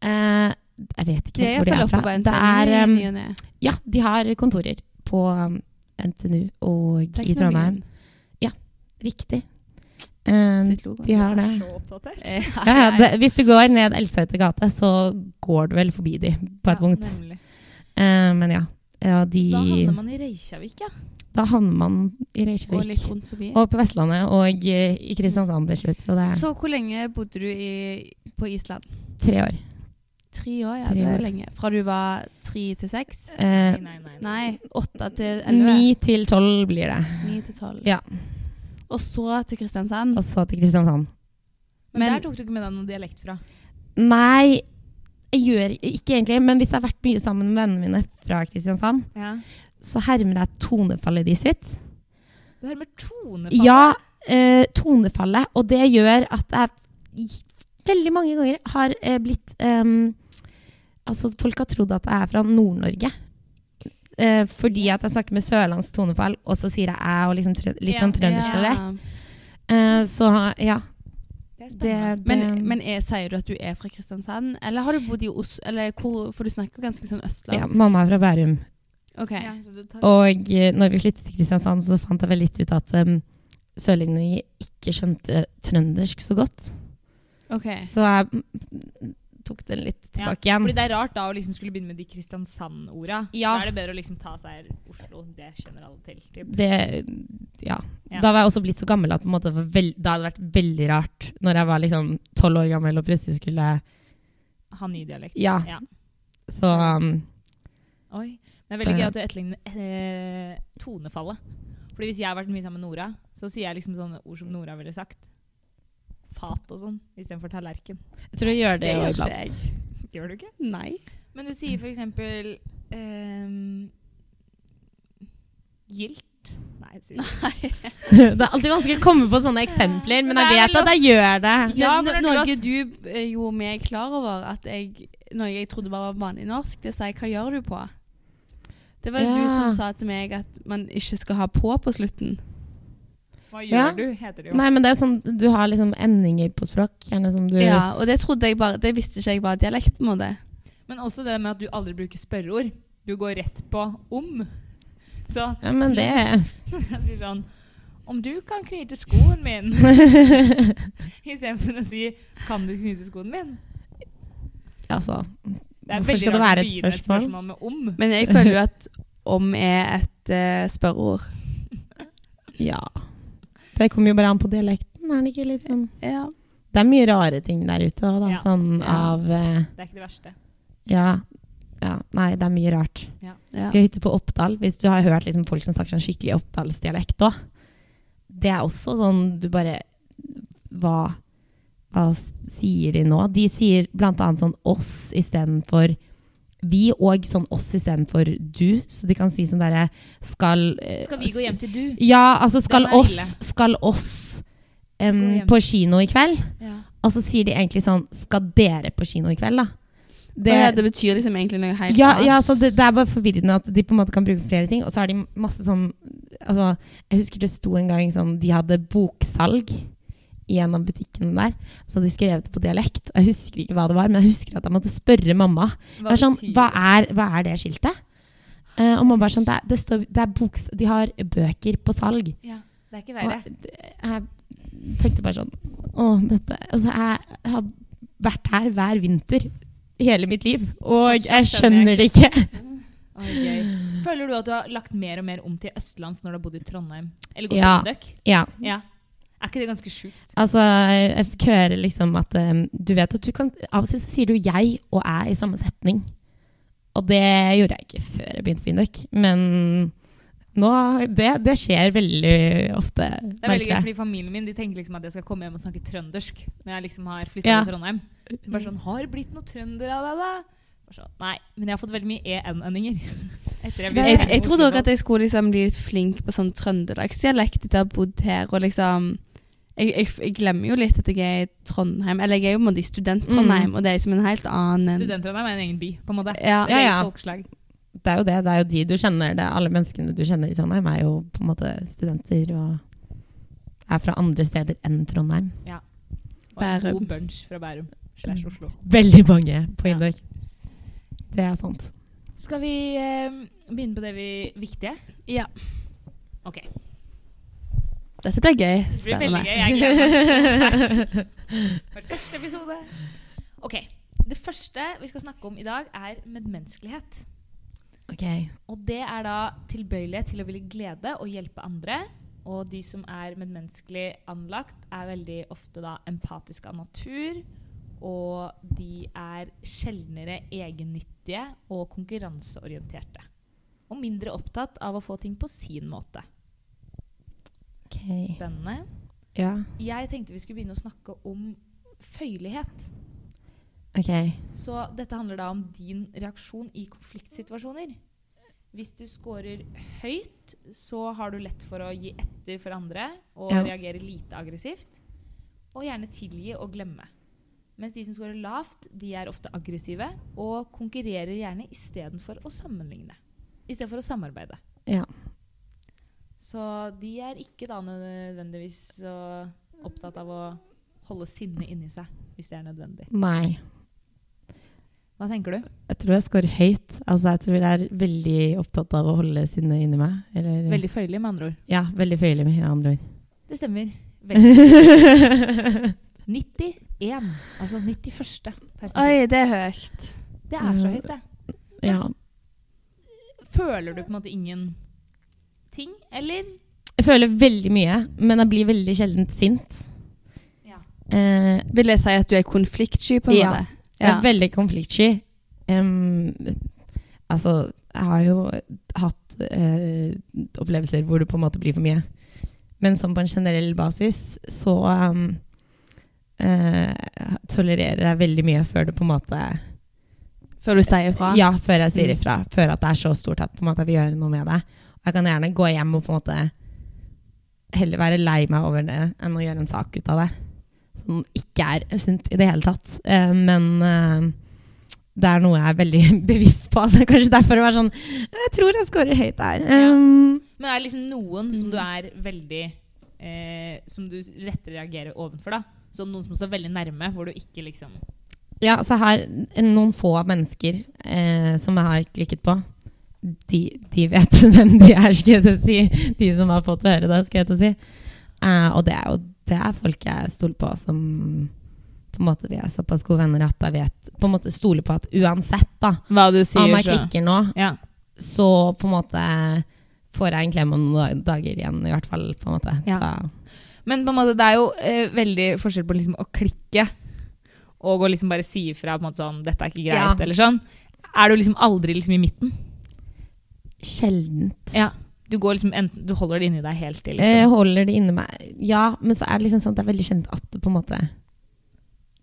[SPEAKER 3] Eh, eh, jeg vet ikke
[SPEAKER 2] Det er
[SPEAKER 3] hvor de
[SPEAKER 2] iallfall
[SPEAKER 3] er
[SPEAKER 2] oppe på
[SPEAKER 3] fra.
[SPEAKER 2] NTNU.
[SPEAKER 3] Det er, eh, um,
[SPEAKER 2] i
[SPEAKER 3] em,
[SPEAKER 2] ny og ne.
[SPEAKER 3] ja, de har kontorer på um, em, NTNU og i
[SPEAKER 2] Teknobyen
[SPEAKER 3] Trondheim. Riktig. Em,
[SPEAKER 2] sitt logo.
[SPEAKER 3] de har det.
[SPEAKER 1] Så oppdatert.
[SPEAKER 3] Ja, ja, det, hvis du går ned Elseter gate, så går du vel forbi de på
[SPEAKER 1] Ja,
[SPEAKER 3] et punkt.
[SPEAKER 1] nemlig.
[SPEAKER 3] Eh, men ja. ja de,
[SPEAKER 1] Da havner man i Reykjavik, ja.
[SPEAKER 3] da havner man i Reykjavik.
[SPEAKER 2] Og litt rundt forbi.
[SPEAKER 3] Og på Vestlandet og eh, i Kristiansand til slutt. Så det er
[SPEAKER 2] Så hvor lenge bodde du i, på Island?
[SPEAKER 3] tre år.
[SPEAKER 2] Tre år, ja.
[SPEAKER 3] Tre
[SPEAKER 2] Det
[SPEAKER 3] år.
[SPEAKER 2] er lenge. Fra du var tre til seks?
[SPEAKER 1] Nei,
[SPEAKER 3] Eh,
[SPEAKER 1] nei, nei.
[SPEAKER 2] Nei, åtte til elleve?
[SPEAKER 3] Ni til tolv blir det.
[SPEAKER 2] Ni til tolv.
[SPEAKER 3] Ja.
[SPEAKER 2] Og så til Kristiansand?
[SPEAKER 3] Og så til Kristiansand.
[SPEAKER 1] Men,
[SPEAKER 2] Men-
[SPEAKER 1] der tok du ikke med deg noen dialekt fra?
[SPEAKER 3] Nei, jeg gjør ikke egentlig, men hvis jeg har vært mye sammen med vennene mine fra Kristiansand,
[SPEAKER 1] Ja.
[SPEAKER 3] så hermer jeg tonefallet de sitt.
[SPEAKER 1] Du har med tonefall.
[SPEAKER 3] Ja, eh, tonefallet. Og det gjør at jeg i- veldig mange ganger har eh, blitt eh, Altså, folk har trodd at jeg er fra Nord-Norge. Eh, fordi at jeg snakker med sørlandsk tonefall, og så sier jeg æ og liksom trø litt
[SPEAKER 1] Ja,
[SPEAKER 3] sånn trøndersk dialekt. Eh, så ja,
[SPEAKER 1] Det er
[SPEAKER 3] det,
[SPEAKER 1] spennende.
[SPEAKER 3] det
[SPEAKER 2] Men, men er, sier du at du er fra Kristiansand, eller har du bodd i Oslo? Eller hvor, for du snakker jo ganske sånn
[SPEAKER 3] ja,
[SPEAKER 2] østlandsk.
[SPEAKER 3] Mamma er fra Bærum.
[SPEAKER 2] Ok.
[SPEAKER 1] Ja, så du tar...
[SPEAKER 3] Og eh, når vi flyttet til Kristiansand, så fant jeg vel litt ut at um, sørlendinger ikke skjønte trøndersk så godt.
[SPEAKER 2] ok.
[SPEAKER 3] Så jeg mm, tok den litt
[SPEAKER 1] Ja,
[SPEAKER 3] tilbake igjen.
[SPEAKER 1] Fordi det er rart da å liksom skulle begynne med de Kristiansand-orda.
[SPEAKER 3] Ja.
[SPEAKER 1] Da er det bedre å liksom ta seg Oslo. Det kjenner alle til. Typ.
[SPEAKER 3] Det, ja.
[SPEAKER 1] Ja.
[SPEAKER 3] Da var jeg også blitt så gammel at på en måte, det var vel- da hadde det vært veldig rart når jeg var liksom tolv år gammel og plutselig skulle
[SPEAKER 1] Ha ny dialekt.
[SPEAKER 3] Ja.
[SPEAKER 1] Ja.
[SPEAKER 3] Så um,
[SPEAKER 1] Oi. Det er veldig
[SPEAKER 3] Det-
[SPEAKER 1] gøy at du etterligner eh, tonefallet. Fordi hvis jeg har vært mye sammen med Nora, så sier jeg liksom sånne ord som Nora ville sagt. Fat og sånn, istedenfor tallerken.
[SPEAKER 3] jeg tror jeg gjør det,
[SPEAKER 2] Det
[SPEAKER 3] jo
[SPEAKER 2] gjør ikke
[SPEAKER 3] iblant.
[SPEAKER 2] jeg.
[SPEAKER 1] Gjør du ikke?
[SPEAKER 2] Nei.
[SPEAKER 1] Men du sier for eksempel ehm, Gilt? Nei, det sier du ikke.
[SPEAKER 3] det er alltid vanskelig å komme på sånne eksempler, men
[SPEAKER 1] Det
[SPEAKER 3] jeg
[SPEAKER 1] er
[SPEAKER 3] vet at jeg gjør det.
[SPEAKER 1] Ja, for
[SPEAKER 2] Men no-
[SPEAKER 1] når du
[SPEAKER 2] noe
[SPEAKER 1] har-
[SPEAKER 2] du eh, gjorde meg klar over, at jeg, noe jeg trodde bare var vanlig norsk, det sa jeg 'hva gjør du på'? Det var du
[SPEAKER 3] Ja.
[SPEAKER 2] som sa til meg at man ikke skal ha 'på' på slutten.
[SPEAKER 1] Hva gjør
[SPEAKER 3] Ja.
[SPEAKER 1] du, heter det jo.
[SPEAKER 3] Nei, men det er sånn, Du har liksom endinger på språk. Gjerne som du
[SPEAKER 2] Ja, og det trodde jeg bare, det visste ikke jeg var dialekt. på en måte.
[SPEAKER 1] Men også det med at du aldri bruker spørreord. Du går rett på om. Så
[SPEAKER 3] Ja, men det
[SPEAKER 1] jeg sier sånn Om du kan knyte skoen min Istedenfor å si Kan du knyte skoen min?
[SPEAKER 3] Altså,
[SPEAKER 1] Det er
[SPEAKER 3] Hvorfor
[SPEAKER 1] veldig
[SPEAKER 3] skal det
[SPEAKER 1] rart
[SPEAKER 3] være
[SPEAKER 1] å
[SPEAKER 3] et
[SPEAKER 1] begynne
[SPEAKER 3] spørsmål?
[SPEAKER 1] med om.
[SPEAKER 2] Men jeg føler jo at om er et eh, spørreord.
[SPEAKER 3] ja. Det kommer jo bare an på dialekten, er det ikke litt sånn
[SPEAKER 2] Ja.
[SPEAKER 3] Det er mye rare ting der ute òg, da.
[SPEAKER 1] Ja.
[SPEAKER 3] Sånn
[SPEAKER 2] Ja.
[SPEAKER 3] av eh,
[SPEAKER 1] Det er ikke det verste.
[SPEAKER 3] ja. ja. Nei, det er mye rart.
[SPEAKER 2] ja.
[SPEAKER 3] Vi har hytte på Oppdal. Hvis du har hørt liksom, folk som snakker sånn skikkelig oppdalsdialekt òg, det er også sånn du bare Hva, hva s- sier de nå? De sier blant annet sånn oss istedenfor vi, og sånn oss istedenfor du. Så de kan si sånn derre skal eh,
[SPEAKER 1] Skal vi gå hjem til du?
[SPEAKER 3] Ja, altså skal
[SPEAKER 1] Den er ille.
[SPEAKER 3] oss, skal oss em,
[SPEAKER 1] Gå hjem.
[SPEAKER 3] på kino i kveld.
[SPEAKER 1] Ja.
[SPEAKER 3] Og så sier de egentlig sånn Skal dere på kino i kveld, da?
[SPEAKER 2] Det,
[SPEAKER 3] Det,
[SPEAKER 2] det betyr liksom egentlig noe helt
[SPEAKER 3] ja,
[SPEAKER 2] annet.
[SPEAKER 3] ja, så det, det er bare forvirrende at de på en måte kan bruke flere ting. Og så har de masse sånn altså, Jeg husker det sto en gang sånn De hadde boksalg gjennom butikkene der. Så hadde de skrevet det på dialekt. Og jeg husker ikke hva det var, men jeg husker at jeg måtte spørre mamma. Hva, er sånn,
[SPEAKER 1] betyr
[SPEAKER 3] hva,
[SPEAKER 1] det?
[SPEAKER 3] er, hva er det skiltet? Eh, og mamma var sånn det, er- det står, det er boks, De har bøker på salg.
[SPEAKER 1] Ja, det er ikke verre.
[SPEAKER 3] Og jeg tenkte bare sånn Å, dette Altså, jeg har vært her hver vinter hele mitt liv, og jeg skjønner det ikke.
[SPEAKER 1] Oi, gøy. Føler du at du har lagt mer og mer om til østlands når du har bodd i Trondheim? Eller gått
[SPEAKER 3] Ja.
[SPEAKER 1] på Døkk?
[SPEAKER 3] Ja,
[SPEAKER 1] Ja. Er ikke det ganske sjukt?
[SPEAKER 3] altså, jeg fikk høre liksom at eh, Du vet at du kan Av og til så sier du 'jeg' og 'jeg' i samme setning. Og det gjorde jeg ikke før jeg begynte på Indøk, men nå det, det skjer veldig ofte,
[SPEAKER 1] Det er veldig gøy,
[SPEAKER 3] merker jeg.
[SPEAKER 1] fordi Familien min de tenker liksom at jeg skal komme hjem og snakke trøndersk når jeg liksom har flyttet
[SPEAKER 3] Ja.
[SPEAKER 1] til Trondheim. De Bare sånn, Har det blitt noe trønder av deg, da? Bare sånn, Nei, men jeg har fått veldig mye en-endinger. Etter jeg,
[SPEAKER 2] Jeg, jeg trodde òg at jeg skulle liksom bli litt flink på sånn trøndelagsdialekt etter å ha bodd her. Og liksom jeg, jeg, jeg glemmer jo litt at jeg er i Trondheim. Eller jeg er jo på en måte i student-Trondheim,
[SPEAKER 3] Mm.
[SPEAKER 2] og det er liksom en helt annen
[SPEAKER 1] Student-Trondheim er en egen by, på en måte.
[SPEAKER 2] Ja,
[SPEAKER 1] Det er
[SPEAKER 3] ja, ja.
[SPEAKER 1] et folkeslag.
[SPEAKER 3] Det er jo det. Det er jo de du kjenner. Det er alle menneskene du kjenner i Trondheim, er jo på en måte studenter og er fra andre steder enn Trondheim.
[SPEAKER 1] Og en
[SPEAKER 2] Bærum. Mm.
[SPEAKER 1] god bunch fra Bærum slash Oslo.
[SPEAKER 3] Veldig mange på
[SPEAKER 1] Ja.
[SPEAKER 3] Indøk. Det er sant.
[SPEAKER 1] Skal vi eh, begynne på det vi viktige?
[SPEAKER 2] Ja.
[SPEAKER 1] Ok.
[SPEAKER 2] Dette blir gøy.
[SPEAKER 1] Det blir veldig gøy.
[SPEAKER 2] Spennende.
[SPEAKER 1] Jeg gleder meg så fælt. For første episode. Ok. Det første vi skal snakke om i dag, er medmenneskelighet.
[SPEAKER 3] Ok.
[SPEAKER 1] Og det er da tilbøyelighet til å ville glede og hjelpe andre. Og de som er medmenneskelig anlagt, er veldig ofte da empatiske av natur. Og de er sjeldnere egennyttige og konkurranseorienterte. Og mindre opptatt av å få ting på sin måte. Spennende.
[SPEAKER 3] Ja.
[SPEAKER 1] Jeg tenkte vi skulle begynne å snakke om føyelighet.
[SPEAKER 3] Ok.
[SPEAKER 1] Så dette handler da om din reaksjon i konfliktsituasjoner. Hvis du scorer høyt, så har du lett for å gi etter for andre og
[SPEAKER 3] Ja.
[SPEAKER 1] reagere lite aggressivt. Og gjerne tilgi og glemme. Mens de som scorer lavt, de er ofte aggressive og konkurrerer gjerne istedenfor å sammenligne. Istedenfor å samarbeide.
[SPEAKER 3] Ja.
[SPEAKER 1] Så de er ikke da nødvendigvis så opptatt av å holde sinnet inni seg, hvis det er nødvendig.
[SPEAKER 3] Nei.
[SPEAKER 1] Hva tenker du?
[SPEAKER 3] Jeg tror jeg scorer høyt. Altså, jeg tror jeg er veldig opptatt av å holde sinnet inni meg. Eller,
[SPEAKER 1] Veldig føyelig, med andre ord.
[SPEAKER 3] Ja, veldig føyelig med andre ord.
[SPEAKER 1] Det stemmer. Veldig.
[SPEAKER 3] Veldig.
[SPEAKER 1] 91. Altså 91.
[SPEAKER 2] Oi,
[SPEAKER 1] persentil.
[SPEAKER 2] det er høyt.
[SPEAKER 1] Det er så høyt, det.
[SPEAKER 3] ja.
[SPEAKER 1] Føler du på en måte ingen ting, eller?
[SPEAKER 3] Jeg føler veldig mye, men jeg blir veldig sjelden sint.
[SPEAKER 1] Ja.
[SPEAKER 3] Eh,
[SPEAKER 2] Vil jeg si at du er konfliktsky, på en
[SPEAKER 3] Ja.
[SPEAKER 2] måte?
[SPEAKER 3] Jeg er veldig konfliktsky. Em, altså, jeg har jo hatt eh, opplevelser hvor det på en måte blir for mye. Men sånn på en generell basis så em, eh, tolererer jeg veldig mye før det på en måte
[SPEAKER 2] Før du sier ifra?
[SPEAKER 3] Ja, før jeg sier
[SPEAKER 2] Mm.
[SPEAKER 3] ifra. Før at det er så stort at på en måte jeg vil gjøre noe med det. Og jeg kan gjerne gå hjem og på en måte heller være lei meg over det enn å gjøre en sak ut av det. Som ikke er sunt i det hele tatt. Eh, men eh, det er noe jeg er veldig bevisst på. Det er kanskje derfor det var sånn Jeg tror jeg scorer høyt der.
[SPEAKER 1] Ja.
[SPEAKER 3] Um,
[SPEAKER 1] Men er det liksom noen som du er veldig eh, Som du rettere reagerer overfor, da? Sånn noen som står veldig nærme, hvor du ikke liksom
[SPEAKER 3] altså Ja, så her noen få mennesker eh, som jeg har klikket på. de, de vet hvem de er, skal jeg til å si. De som har fått høre det, skal jeg til å si. Eh, og det er jo det er folk jeg stoler på, som på en måte vi er såpass gode venner at jeg vet På en måte stoler på at uansett, da,
[SPEAKER 1] Hva du sier,
[SPEAKER 3] om jeg
[SPEAKER 1] så-
[SPEAKER 3] klikker nå,
[SPEAKER 1] Ja.
[SPEAKER 3] så på en måte får jeg en klem om noen da- dager igjen, i hvert fall. på en måte.
[SPEAKER 1] Ja.
[SPEAKER 3] Da,
[SPEAKER 1] Men på en måte, det er jo eh, veldig forskjell på liksom, å klikke og å liksom bare si ifra på en måte sånn 'Dette er ikke greit',
[SPEAKER 3] Ja.
[SPEAKER 1] eller sånn. Er du liksom aldri liksom i midten?
[SPEAKER 3] sjelden.
[SPEAKER 1] Ja. Du, går liksom enten, du holder det inni deg helt til.
[SPEAKER 3] Eh,
[SPEAKER 1] Liksom.
[SPEAKER 3] holder det inni meg. Ja, men så er det liksom sånn at det er veldig kjent at det på en måte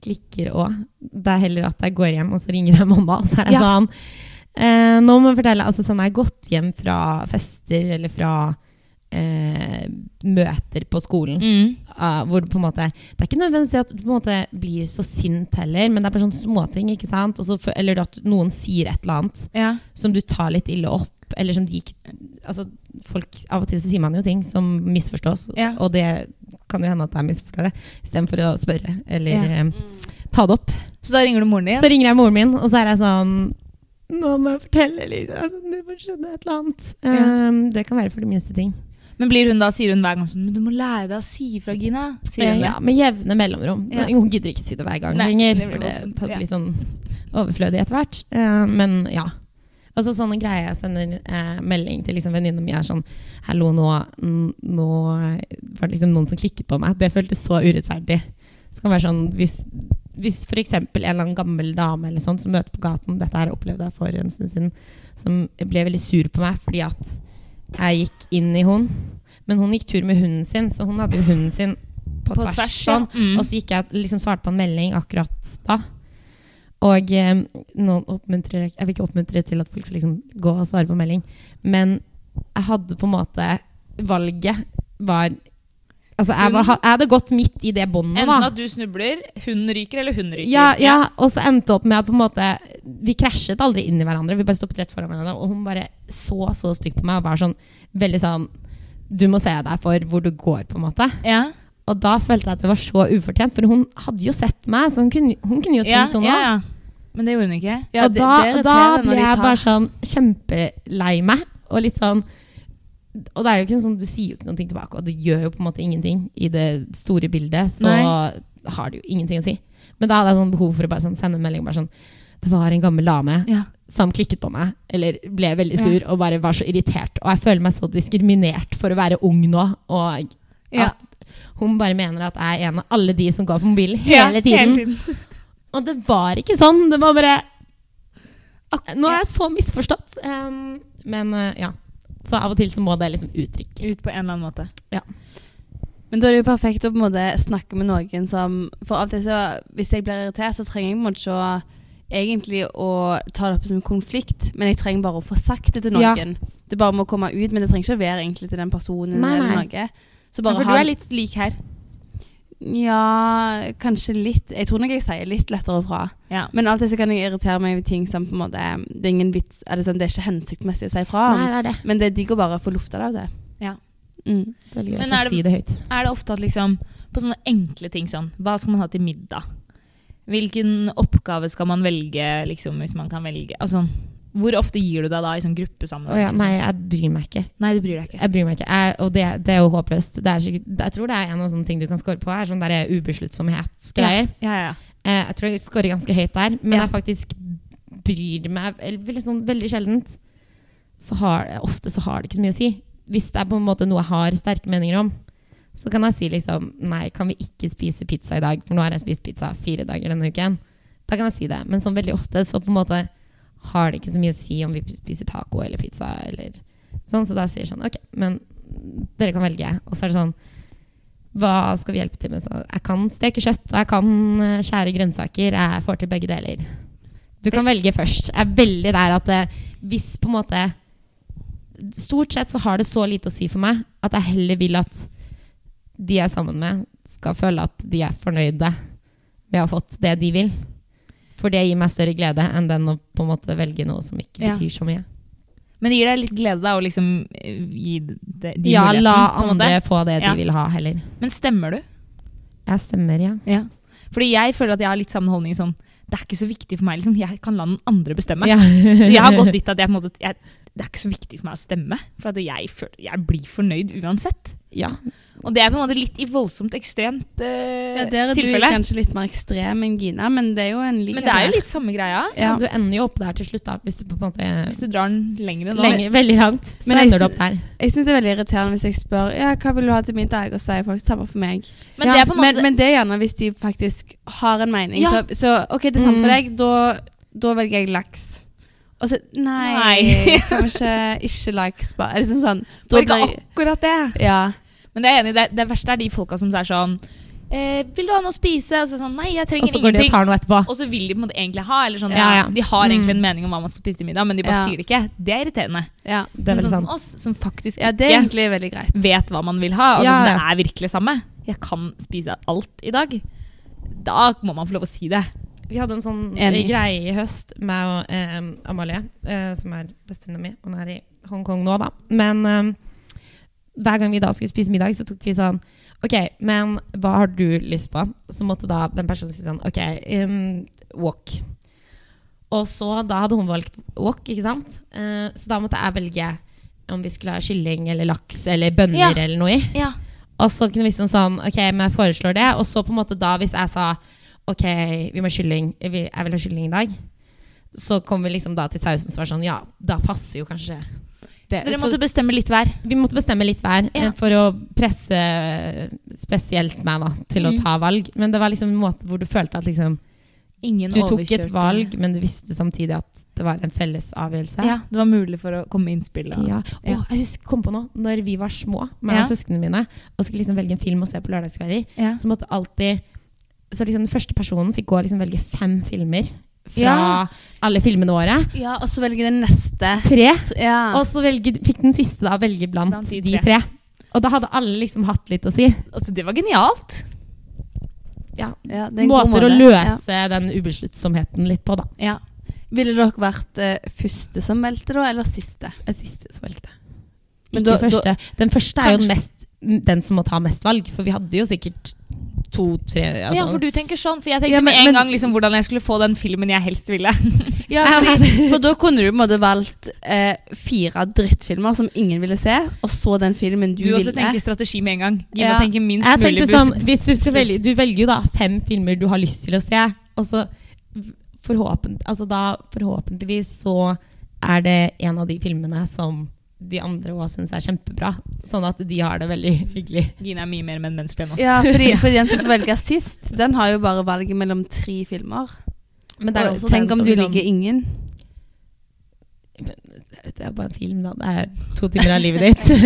[SPEAKER 3] klikker òg. Det er heller at jeg går hjem, og så ringer jeg mamma, og så er jeg
[SPEAKER 1] Ja.
[SPEAKER 3] sånn eh, Nå må jeg fortelle altså sånn, Jeg har gått hjem fra fester eller fra eh, møter på skolen.
[SPEAKER 1] Mm.
[SPEAKER 3] ah, hvor det på en måte Det er ikke nødvendigvis at du på en måte blir så sint heller, men det er bare sånne småting. ikke sant? Og så fø- eller at noen sier et eller annet
[SPEAKER 1] Ja.
[SPEAKER 3] som du tar litt ille opp, eller som de ikke altså, folk, Av og til så sier man jo ting som misforstås,
[SPEAKER 1] Ja.
[SPEAKER 3] og det kan jo hende at det er misforståere, istedenfor å spørre eller
[SPEAKER 1] Ja.
[SPEAKER 3] eh, ta det opp.
[SPEAKER 1] Så da ringer du moren din.
[SPEAKER 3] Så ringer jeg moren min, og så er jeg sånn nå må jeg fortelle, Lisa. Altså, det må skjedde et eller annet.
[SPEAKER 1] Ja.
[SPEAKER 3] Um, det kan være for de minste ting.
[SPEAKER 1] Men blir hun da, sier hun hver gang sånn 'Men du må lære deg å si ifra, Gina'. Sier hun det.
[SPEAKER 3] Eh, ja, med jevne mellomrom.
[SPEAKER 1] Ja.
[SPEAKER 3] Hun gidder ikke si det hver gang
[SPEAKER 1] Nei,
[SPEAKER 3] lenger,
[SPEAKER 1] det blir
[SPEAKER 3] for det
[SPEAKER 1] voldsomt,
[SPEAKER 3] tar
[SPEAKER 1] ja.
[SPEAKER 3] litt sånn overflødig etter hvert. Eh, men ja. Altså sånne greier jeg sender eh, melding til liksom, venninna mi er sånn Hallo, nå, n- nå var det liksom noen som klikket på meg. Det føltes så urettferdig. Så kan det være sånn Hvis, hvis f.eks. en eller annen gammel dame eller sånn som møter på gaten Dette her opplevde jeg for en stund siden. Som ble veldig sur på meg fordi at jeg gikk inn i hun. Men hun gikk tur med hunden sin, så hun hadde jo hunden sin på, tvers.
[SPEAKER 1] ja.
[SPEAKER 3] sånn.
[SPEAKER 1] Mm.
[SPEAKER 3] Og så gikk jeg liksom svarte på en melding akkurat da. Og eh, noen oppmuntrer Jeg vil ikke oppmuntre til at folk skal liksom gå og svare på melding, men jeg hadde på en måte Valget var Altså, jeg, var, jeg hadde gått midt i det båndet,
[SPEAKER 1] Enten
[SPEAKER 3] da.
[SPEAKER 1] at du snubler, hun ryker, eller hun ryker.
[SPEAKER 3] Ja, ja, og så endte det opp med at på en måte vi krasjet aldri inn i hverandre. Vi bare stoppet rett foran hverandre, og hun bare så så stygt på meg og var sånn veldig sånn Du må se deg for hvor du går, på en måte.
[SPEAKER 1] Ja.
[SPEAKER 3] Og da følte jeg at det var så ufortjent, for hun hadde jo sett meg, så hun kunne, hun sånn kunne jo
[SPEAKER 1] Ja,
[SPEAKER 3] svingt henne.
[SPEAKER 1] ja, ja. Men det gjorde hun ikke.
[SPEAKER 2] Ja,
[SPEAKER 3] og
[SPEAKER 2] det,
[SPEAKER 3] da,
[SPEAKER 2] det
[SPEAKER 3] og da
[SPEAKER 2] irriterer
[SPEAKER 3] ble
[SPEAKER 2] når de
[SPEAKER 3] jeg
[SPEAKER 2] tar-
[SPEAKER 3] bare sånn kjempelei meg, og litt sånn og det er jo ikke en sånn, Du sier jo ikke noe tilbake, og du gjør jo på en måte ingenting. I det store bildet så
[SPEAKER 1] Nei.
[SPEAKER 3] har det jo ingenting å si. Men da hadde jeg sånn behov for å bare sånn, sende en melding. bare sånn, Det var en gammel dame
[SPEAKER 1] Ja.
[SPEAKER 3] som klikket på meg, eller ble veldig sur
[SPEAKER 1] Ja.
[SPEAKER 3] og bare var så irritert. Og jeg føler meg så diskriminert for å være ung nå. Og
[SPEAKER 1] Ja.
[SPEAKER 3] hun bare mener at jeg er en av alle de som går på mobilen
[SPEAKER 1] Ja,
[SPEAKER 3] hele tiden. Og det var ikke sånn. Det var bare Ak- Nå er jeg så misforstått. Em, men eh, ja. Så av og til så må det liksom uttrykkes.
[SPEAKER 1] Ut på en eller annen måte.
[SPEAKER 2] Men da er det jo perfekt å på en måte snakke med noen som For av og til, så, hvis jeg blir irritert, så trenger jeg på en måte ikke å egentlig å ta det opp som en konflikt, men jeg trenger bare å få sagt det til
[SPEAKER 3] Ja.
[SPEAKER 2] noen. Det bare må komme ut, men det trenger ikke å være egentlig til den personen
[SPEAKER 3] Nei,
[SPEAKER 2] eller
[SPEAKER 3] nei.
[SPEAKER 2] noe. Så
[SPEAKER 1] Ja,
[SPEAKER 2] bare
[SPEAKER 1] for du
[SPEAKER 2] ha
[SPEAKER 1] er litt lik her.
[SPEAKER 2] Ja, kanskje litt. Jeg tror nok jeg sier litt lettere fra.
[SPEAKER 1] Ja.
[SPEAKER 2] Men av og til så kan jeg irritere meg over ting som på en måte Det er ingen vits eller sånn, Det er ikke hensiktsmessig å si fra om.
[SPEAKER 3] Nei, det er det.
[SPEAKER 2] Men det er digg å bare få lufta det av det.
[SPEAKER 1] Ja.
[SPEAKER 2] Mm.
[SPEAKER 3] Det er veldig
[SPEAKER 1] Men
[SPEAKER 3] greit
[SPEAKER 1] er
[SPEAKER 3] å
[SPEAKER 1] det-
[SPEAKER 3] si det høyt.
[SPEAKER 1] Er det ofte at liksom På sånne enkle ting sånn Hva skal man ha til middag? Hvilken oppgave skal man velge, liksom, hvis man kan velge? Altså, hvor ofte gir du deg da i sånn
[SPEAKER 3] Å ja,
[SPEAKER 1] gruppesammenheng?
[SPEAKER 3] nei, jeg bryr meg ikke.
[SPEAKER 1] Nei, du bryr deg ikke.
[SPEAKER 3] Jeg bryr meg ikke. Jeg, og det, det er jo håpløst. Det er sikkert, jeg tror det er en av sånne ting du kan score på. Er sånn der ubesluttsomhetsgreier.
[SPEAKER 1] Ja, ja, ja.
[SPEAKER 3] Eh, jeg tror jeg scorer ganske høyt der, men
[SPEAKER 1] Ja.
[SPEAKER 3] jeg faktisk bryr meg eller veldig sånn, veldig sjeldent. Så har, ofte så har det ikke så mye å si. Hvis det er på en måte noe jeg har sterke meninger om, så kan jeg si liksom Nei, kan vi ikke spise pizza i dag? For nå har jeg spist pizza fire dager denne uken. Da kan jeg si det. Men sånn veldig ofte så på en måte har det ikke så mye å si om vi spiser taco eller pizza eller sånn. Så da sier jeg sånn Ok, men dere kan velge. Og så er det sånn hva skal vi hjelpe til med? Så jeg kan steke kjøtt, og jeg kan eh, skjære grønnsaker. Jeg får til begge deler. Du kan velge først. Jeg er veldig der at eh, hvis på en måte Stort sett så har det så lite å si for meg at jeg heller vil at de jeg er sammen med, skal føle at de er fornøyde med å ha fått det de vil. For det gir meg større glede enn den å på en måte velge noe som ikke
[SPEAKER 1] Ja.
[SPEAKER 3] betyr så mye.
[SPEAKER 1] Men det gir deg litt glede da, å liksom eh, gi de, de
[SPEAKER 3] Ja, la
[SPEAKER 1] på en måte.
[SPEAKER 3] andre få det de
[SPEAKER 1] Ja.
[SPEAKER 3] vil ha, heller.
[SPEAKER 1] Men stemmer du?
[SPEAKER 3] Jeg stemmer, ja.
[SPEAKER 1] Ja. Fordi jeg føler at jeg har litt samme holdning sånn det er ikke så viktig for meg. Liksom. Jeg kan la noen andre bestemme.
[SPEAKER 3] Ja.
[SPEAKER 1] Jeg har gått dit at jeg, på en måte, jeg, det er ikke så viktig for meg å stemme. For at jeg, føler, jeg blir fornøyd uansett.
[SPEAKER 3] Ja.
[SPEAKER 1] Og det er på en måte litt i voldsomt ekstremt eh,
[SPEAKER 2] Ja, Der er du
[SPEAKER 1] tilfelle.
[SPEAKER 2] kanskje litt mer ekstrem enn Gina, men det er jo en likhet.
[SPEAKER 1] Men det er jo
[SPEAKER 2] der.
[SPEAKER 1] litt samme greia.
[SPEAKER 2] Ja.
[SPEAKER 3] Du ender jo opp der til slutt, da, hvis du på en måte
[SPEAKER 1] Hvis du drar den lengre nå.
[SPEAKER 3] Lenge, Veldig langt. Så
[SPEAKER 2] Men jeg
[SPEAKER 3] ender du
[SPEAKER 2] sy-
[SPEAKER 3] opp der.
[SPEAKER 2] Jeg syns det er veldig irriterende hvis jeg spør ja, hva vil du ha til middag, og så sier folk samme for meg.
[SPEAKER 1] Men
[SPEAKER 3] Ja,
[SPEAKER 1] det er på en måte
[SPEAKER 2] men, men det er gjerne hvis de faktisk har en mening.
[SPEAKER 1] Ja.
[SPEAKER 2] Så, så OK, det er samme
[SPEAKER 3] Mm.
[SPEAKER 2] for deg, da, da velger jeg laks. Og så Nei,
[SPEAKER 1] Nei.
[SPEAKER 2] kanskje ikke laks, bare liksom sånn.
[SPEAKER 1] Det
[SPEAKER 2] Da
[SPEAKER 1] var
[SPEAKER 2] blir
[SPEAKER 1] ikke akkurat det.
[SPEAKER 2] Ja.
[SPEAKER 1] Men det er jeg enig i. Det, det verste er de folka som er sånn eh, 'Vil du ha noe å spise?' Og så er det sånn 'Nei, jeg
[SPEAKER 3] Og
[SPEAKER 1] trenger
[SPEAKER 3] så går de og
[SPEAKER 1] ingenting'.
[SPEAKER 3] tar noe etterpå.
[SPEAKER 1] Og så vil de på en måte egentlig ha. Eller sånn,
[SPEAKER 3] Ja, ja.
[SPEAKER 1] De har egentlig
[SPEAKER 3] Mm.
[SPEAKER 1] en mening om hva man skal spise til middag, men de bare
[SPEAKER 2] Ja.
[SPEAKER 1] sier det ikke. Det er irriterende.
[SPEAKER 2] Ja.
[SPEAKER 3] Det er
[SPEAKER 1] men
[SPEAKER 3] veldig
[SPEAKER 1] sånn
[SPEAKER 3] sant.
[SPEAKER 1] som oss, som faktisk
[SPEAKER 2] ja, det er
[SPEAKER 1] ikke
[SPEAKER 2] egentlig veldig greit.
[SPEAKER 1] vet hva man vil ha. Altså,
[SPEAKER 3] Ja, ja.
[SPEAKER 1] Det er virkelig samme. Jeg kan spise alt i dag. Da må man få lov å si det.
[SPEAKER 3] Vi hadde en sånn eh,
[SPEAKER 2] Enig.
[SPEAKER 3] greie i høst, meg og eh, Amalie, eh, som er bestevenninna mi. Hun er i Hongkong nå, da. Men eh, hver gang vi da skulle spise middag, så tok vi sånn Ok, men hva har du lyst på? Så måtte da den personen si sånn Ok, em, wok. Og så da hadde hun valgt wok, ikke sant? Eh, så da måtte jeg velge om vi skulle ha kylling eller laks eller bønner
[SPEAKER 1] Ja.
[SPEAKER 3] eller noe i.
[SPEAKER 1] Ja.
[SPEAKER 3] Og så kunne vi sånn sånn Ok, men jeg foreslår det. Og så på en måte da, hvis jeg sa Ok, vi må ha kylling. Jeg vil, jeg vil ha kylling i dag. Så kom vi liksom da til sausen som var sånn Ja, da passer jo kanskje det.
[SPEAKER 1] Så dere
[SPEAKER 3] Så
[SPEAKER 1] måtte bestemme litt hver.
[SPEAKER 3] vi måtte bestemme litt hver
[SPEAKER 1] Ja.
[SPEAKER 3] eh, for å presse spesielt meg da til å
[SPEAKER 1] Mm.
[SPEAKER 3] ta valg. Men det var liksom en måte hvor du følte at liksom
[SPEAKER 1] Ingen
[SPEAKER 3] Du tok et
[SPEAKER 1] overkjørte-
[SPEAKER 3] valg, men du visste samtidig at det var en felles avgjørelse.
[SPEAKER 1] Ja, det var mulig for å komme med innspill. da.
[SPEAKER 3] Ja.
[SPEAKER 1] Ja.
[SPEAKER 3] Å, jeg husker, kom på nå, når vi var små, meg
[SPEAKER 1] Ja.
[SPEAKER 3] og søsknene mine, og skulle liksom velge en film å se på lørdagskvelder,
[SPEAKER 1] Ja.
[SPEAKER 3] så måtte alltid Så liksom den første personen fikk gå og liksom velge fem filmer fra
[SPEAKER 1] Ja.
[SPEAKER 3] alle filmene våre.
[SPEAKER 2] Ja, og så velger jeg den neste.
[SPEAKER 3] Tre.
[SPEAKER 2] Ja.
[SPEAKER 3] Og så velge, fikk den siste da velge blant,
[SPEAKER 1] Blant de
[SPEAKER 3] de,
[SPEAKER 1] tre.
[SPEAKER 3] tre. Og da hadde alle liksom hatt litt å si.
[SPEAKER 1] Altså, det var genialt.
[SPEAKER 2] ja, det er en god
[SPEAKER 3] Måter å
[SPEAKER 2] måte. Ja.
[SPEAKER 3] løse den ubesluttsomheten litt på, da.
[SPEAKER 1] Ja.
[SPEAKER 2] Ville dere vært eh, første som meldte, da, eller siste?
[SPEAKER 3] Den siste som valgte.
[SPEAKER 2] Men
[SPEAKER 3] Ikke
[SPEAKER 2] da- da-
[SPEAKER 3] første. Den første er jo
[SPEAKER 1] Kanskje-
[SPEAKER 3] mest, den som må ta mest valg, for vi hadde jo sikkert to-tre altså.
[SPEAKER 1] ja, for du tenker sånn. For jeg tenkte
[SPEAKER 2] Ja, men-
[SPEAKER 1] med en
[SPEAKER 2] men-
[SPEAKER 1] gang liksom, hvordan jeg skulle få den filmen jeg helst ville.
[SPEAKER 2] Ja, fordi, for da kunne du på en måte valgt eh, fire drittfilmer som ingen ville se, og så den filmen du,
[SPEAKER 1] Du også
[SPEAKER 2] ville.
[SPEAKER 1] tenker strategi med en gang. Gina
[SPEAKER 2] Ja.
[SPEAKER 1] tenker minst
[SPEAKER 3] Jeg
[SPEAKER 1] mulig
[SPEAKER 3] tenkte
[SPEAKER 1] bus-
[SPEAKER 3] sånn, hvis du, skal velge, du velger jo da fem filmer du har lyst til å se, og så forhåpent, altså da, forhåpentligvis så er det en av de filmene som de andre også synes er kjempebra, sånn at de har det veldig hyggelig.
[SPEAKER 1] Gina er mye mer menneskelig enn oss.
[SPEAKER 2] Ja, fordi, fordi den som får velge sist, den har jo bare valget mellom tre filmer.
[SPEAKER 3] Men
[SPEAKER 2] Og tenk om du
[SPEAKER 1] liksom-
[SPEAKER 2] ligger ingen.
[SPEAKER 3] Det er bare en film da, det er to timer av livet ditt.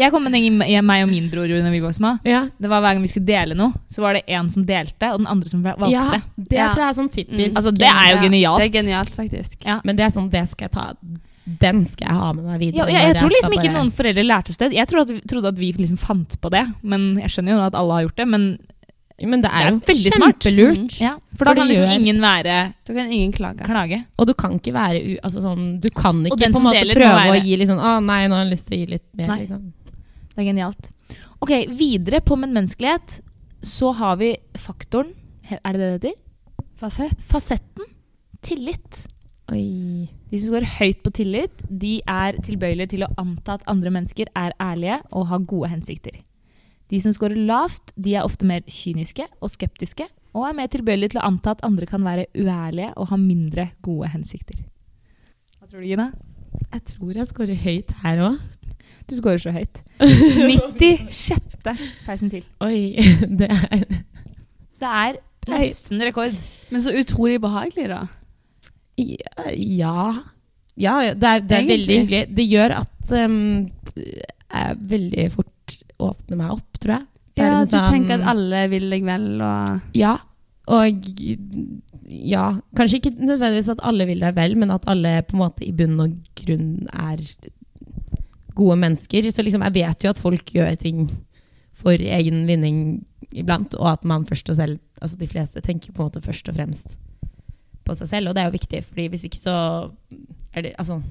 [SPEAKER 1] Jeg kom med en gjeng jeg, meg og min bror gjorde når vi var små.
[SPEAKER 3] ja.
[SPEAKER 1] Det var Hver gang vi skulle dele noe, så var det én som delte, og den andre som valgte.
[SPEAKER 3] ja,
[SPEAKER 1] Ja.
[SPEAKER 3] det
[SPEAKER 2] Ja.
[SPEAKER 3] tror jeg er sånn typisk.
[SPEAKER 2] Mm.
[SPEAKER 1] Altså, det er jo
[SPEAKER 2] Ja,
[SPEAKER 1] genialt.
[SPEAKER 2] Det er genialt, faktisk.
[SPEAKER 1] Ja.
[SPEAKER 3] Men det er sånn, det skal jeg ta, den skal jeg ha med meg videre.
[SPEAKER 1] og jeg, jeg
[SPEAKER 3] når
[SPEAKER 1] tror
[SPEAKER 3] skal
[SPEAKER 1] liksom ikke
[SPEAKER 3] bare-
[SPEAKER 1] noen foreldre lærte oss det. Jeg trodde at, trodde at vi liksom fant på det, men jeg skjønner jo nå at alle har gjort det. Men
[SPEAKER 3] Men
[SPEAKER 1] Det
[SPEAKER 3] det
[SPEAKER 1] er
[SPEAKER 3] er jo
[SPEAKER 1] veldig smart.
[SPEAKER 3] kjempelurt.
[SPEAKER 1] ja, For da
[SPEAKER 3] For det
[SPEAKER 1] kan liksom
[SPEAKER 3] gjør-
[SPEAKER 1] ingen være
[SPEAKER 2] Da kan ingen klage.
[SPEAKER 1] klage.
[SPEAKER 3] Og du kan ikke være u... Altså sånn, du kan ikke
[SPEAKER 1] den
[SPEAKER 3] på
[SPEAKER 1] som
[SPEAKER 3] en måte
[SPEAKER 1] deler må
[SPEAKER 3] prøve å
[SPEAKER 1] være-
[SPEAKER 3] gi litt sånn Å nei, nå har jeg lyst til å gi litt mer,
[SPEAKER 1] Nei.
[SPEAKER 3] liksom.
[SPEAKER 1] Det er genialt. Ok, Videre på medmenneskelighet så har vi faktoren Er det det det heter?
[SPEAKER 2] Fasett.
[SPEAKER 1] Fasetten tillit.
[SPEAKER 3] Oi.
[SPEAKER 1] De som scorer høyt på tillit, de er tilbøyelige til å anta at andre mennesker er ærlige og har gode hensikter. De som scorer lavt, de er ofte mer kyniske og skeptiske, og er mer tilbøyelige til å anta at andre kan være uærlige og ha mindre gode hensikter. Hva tror du, Gina?
[SPEAKER 3] Jeg tror jeg scorer høyt her òg.
[SPEAKER 1] Du scorer så høyt. 96. persentil.
[SPEAKER 3] Oi. Det er
[SPEAKER 1] Det er nesten rekord.
[SPEAKER 2] Men så utrolig behagelig, da.
[SPEAKER 3] Ja. Ja, ja, det er, det er
[SPEAKER 2] Egentlig.
[SPEAKER 3] veldig hyggelig. Det gjør at ehm, jeg veldig fort åpner meg opp, tror jeg. Det er
[SPEAKER 2] Ja,
[SPEAKER 3] liksom
[SPEAKER 2] du
[SPEAKER 3] sånn-
[SPEAKER 2] tenker at alle vil deg vel, og
[SPEAKER 3] Ja. Og ja, kanskje ikke nødvendigvis at alle vil deg vel, men at alle på en måte i bunn og grunn er gode mennesker. Så liksom, jeg vet jo at folk gjør ting for egen vinning iblant, og at man først og selv, altså de fleste tenker på en måte først og fremst på seg selv, og det er jo viktig, fordi hvis ikke så er det, altså,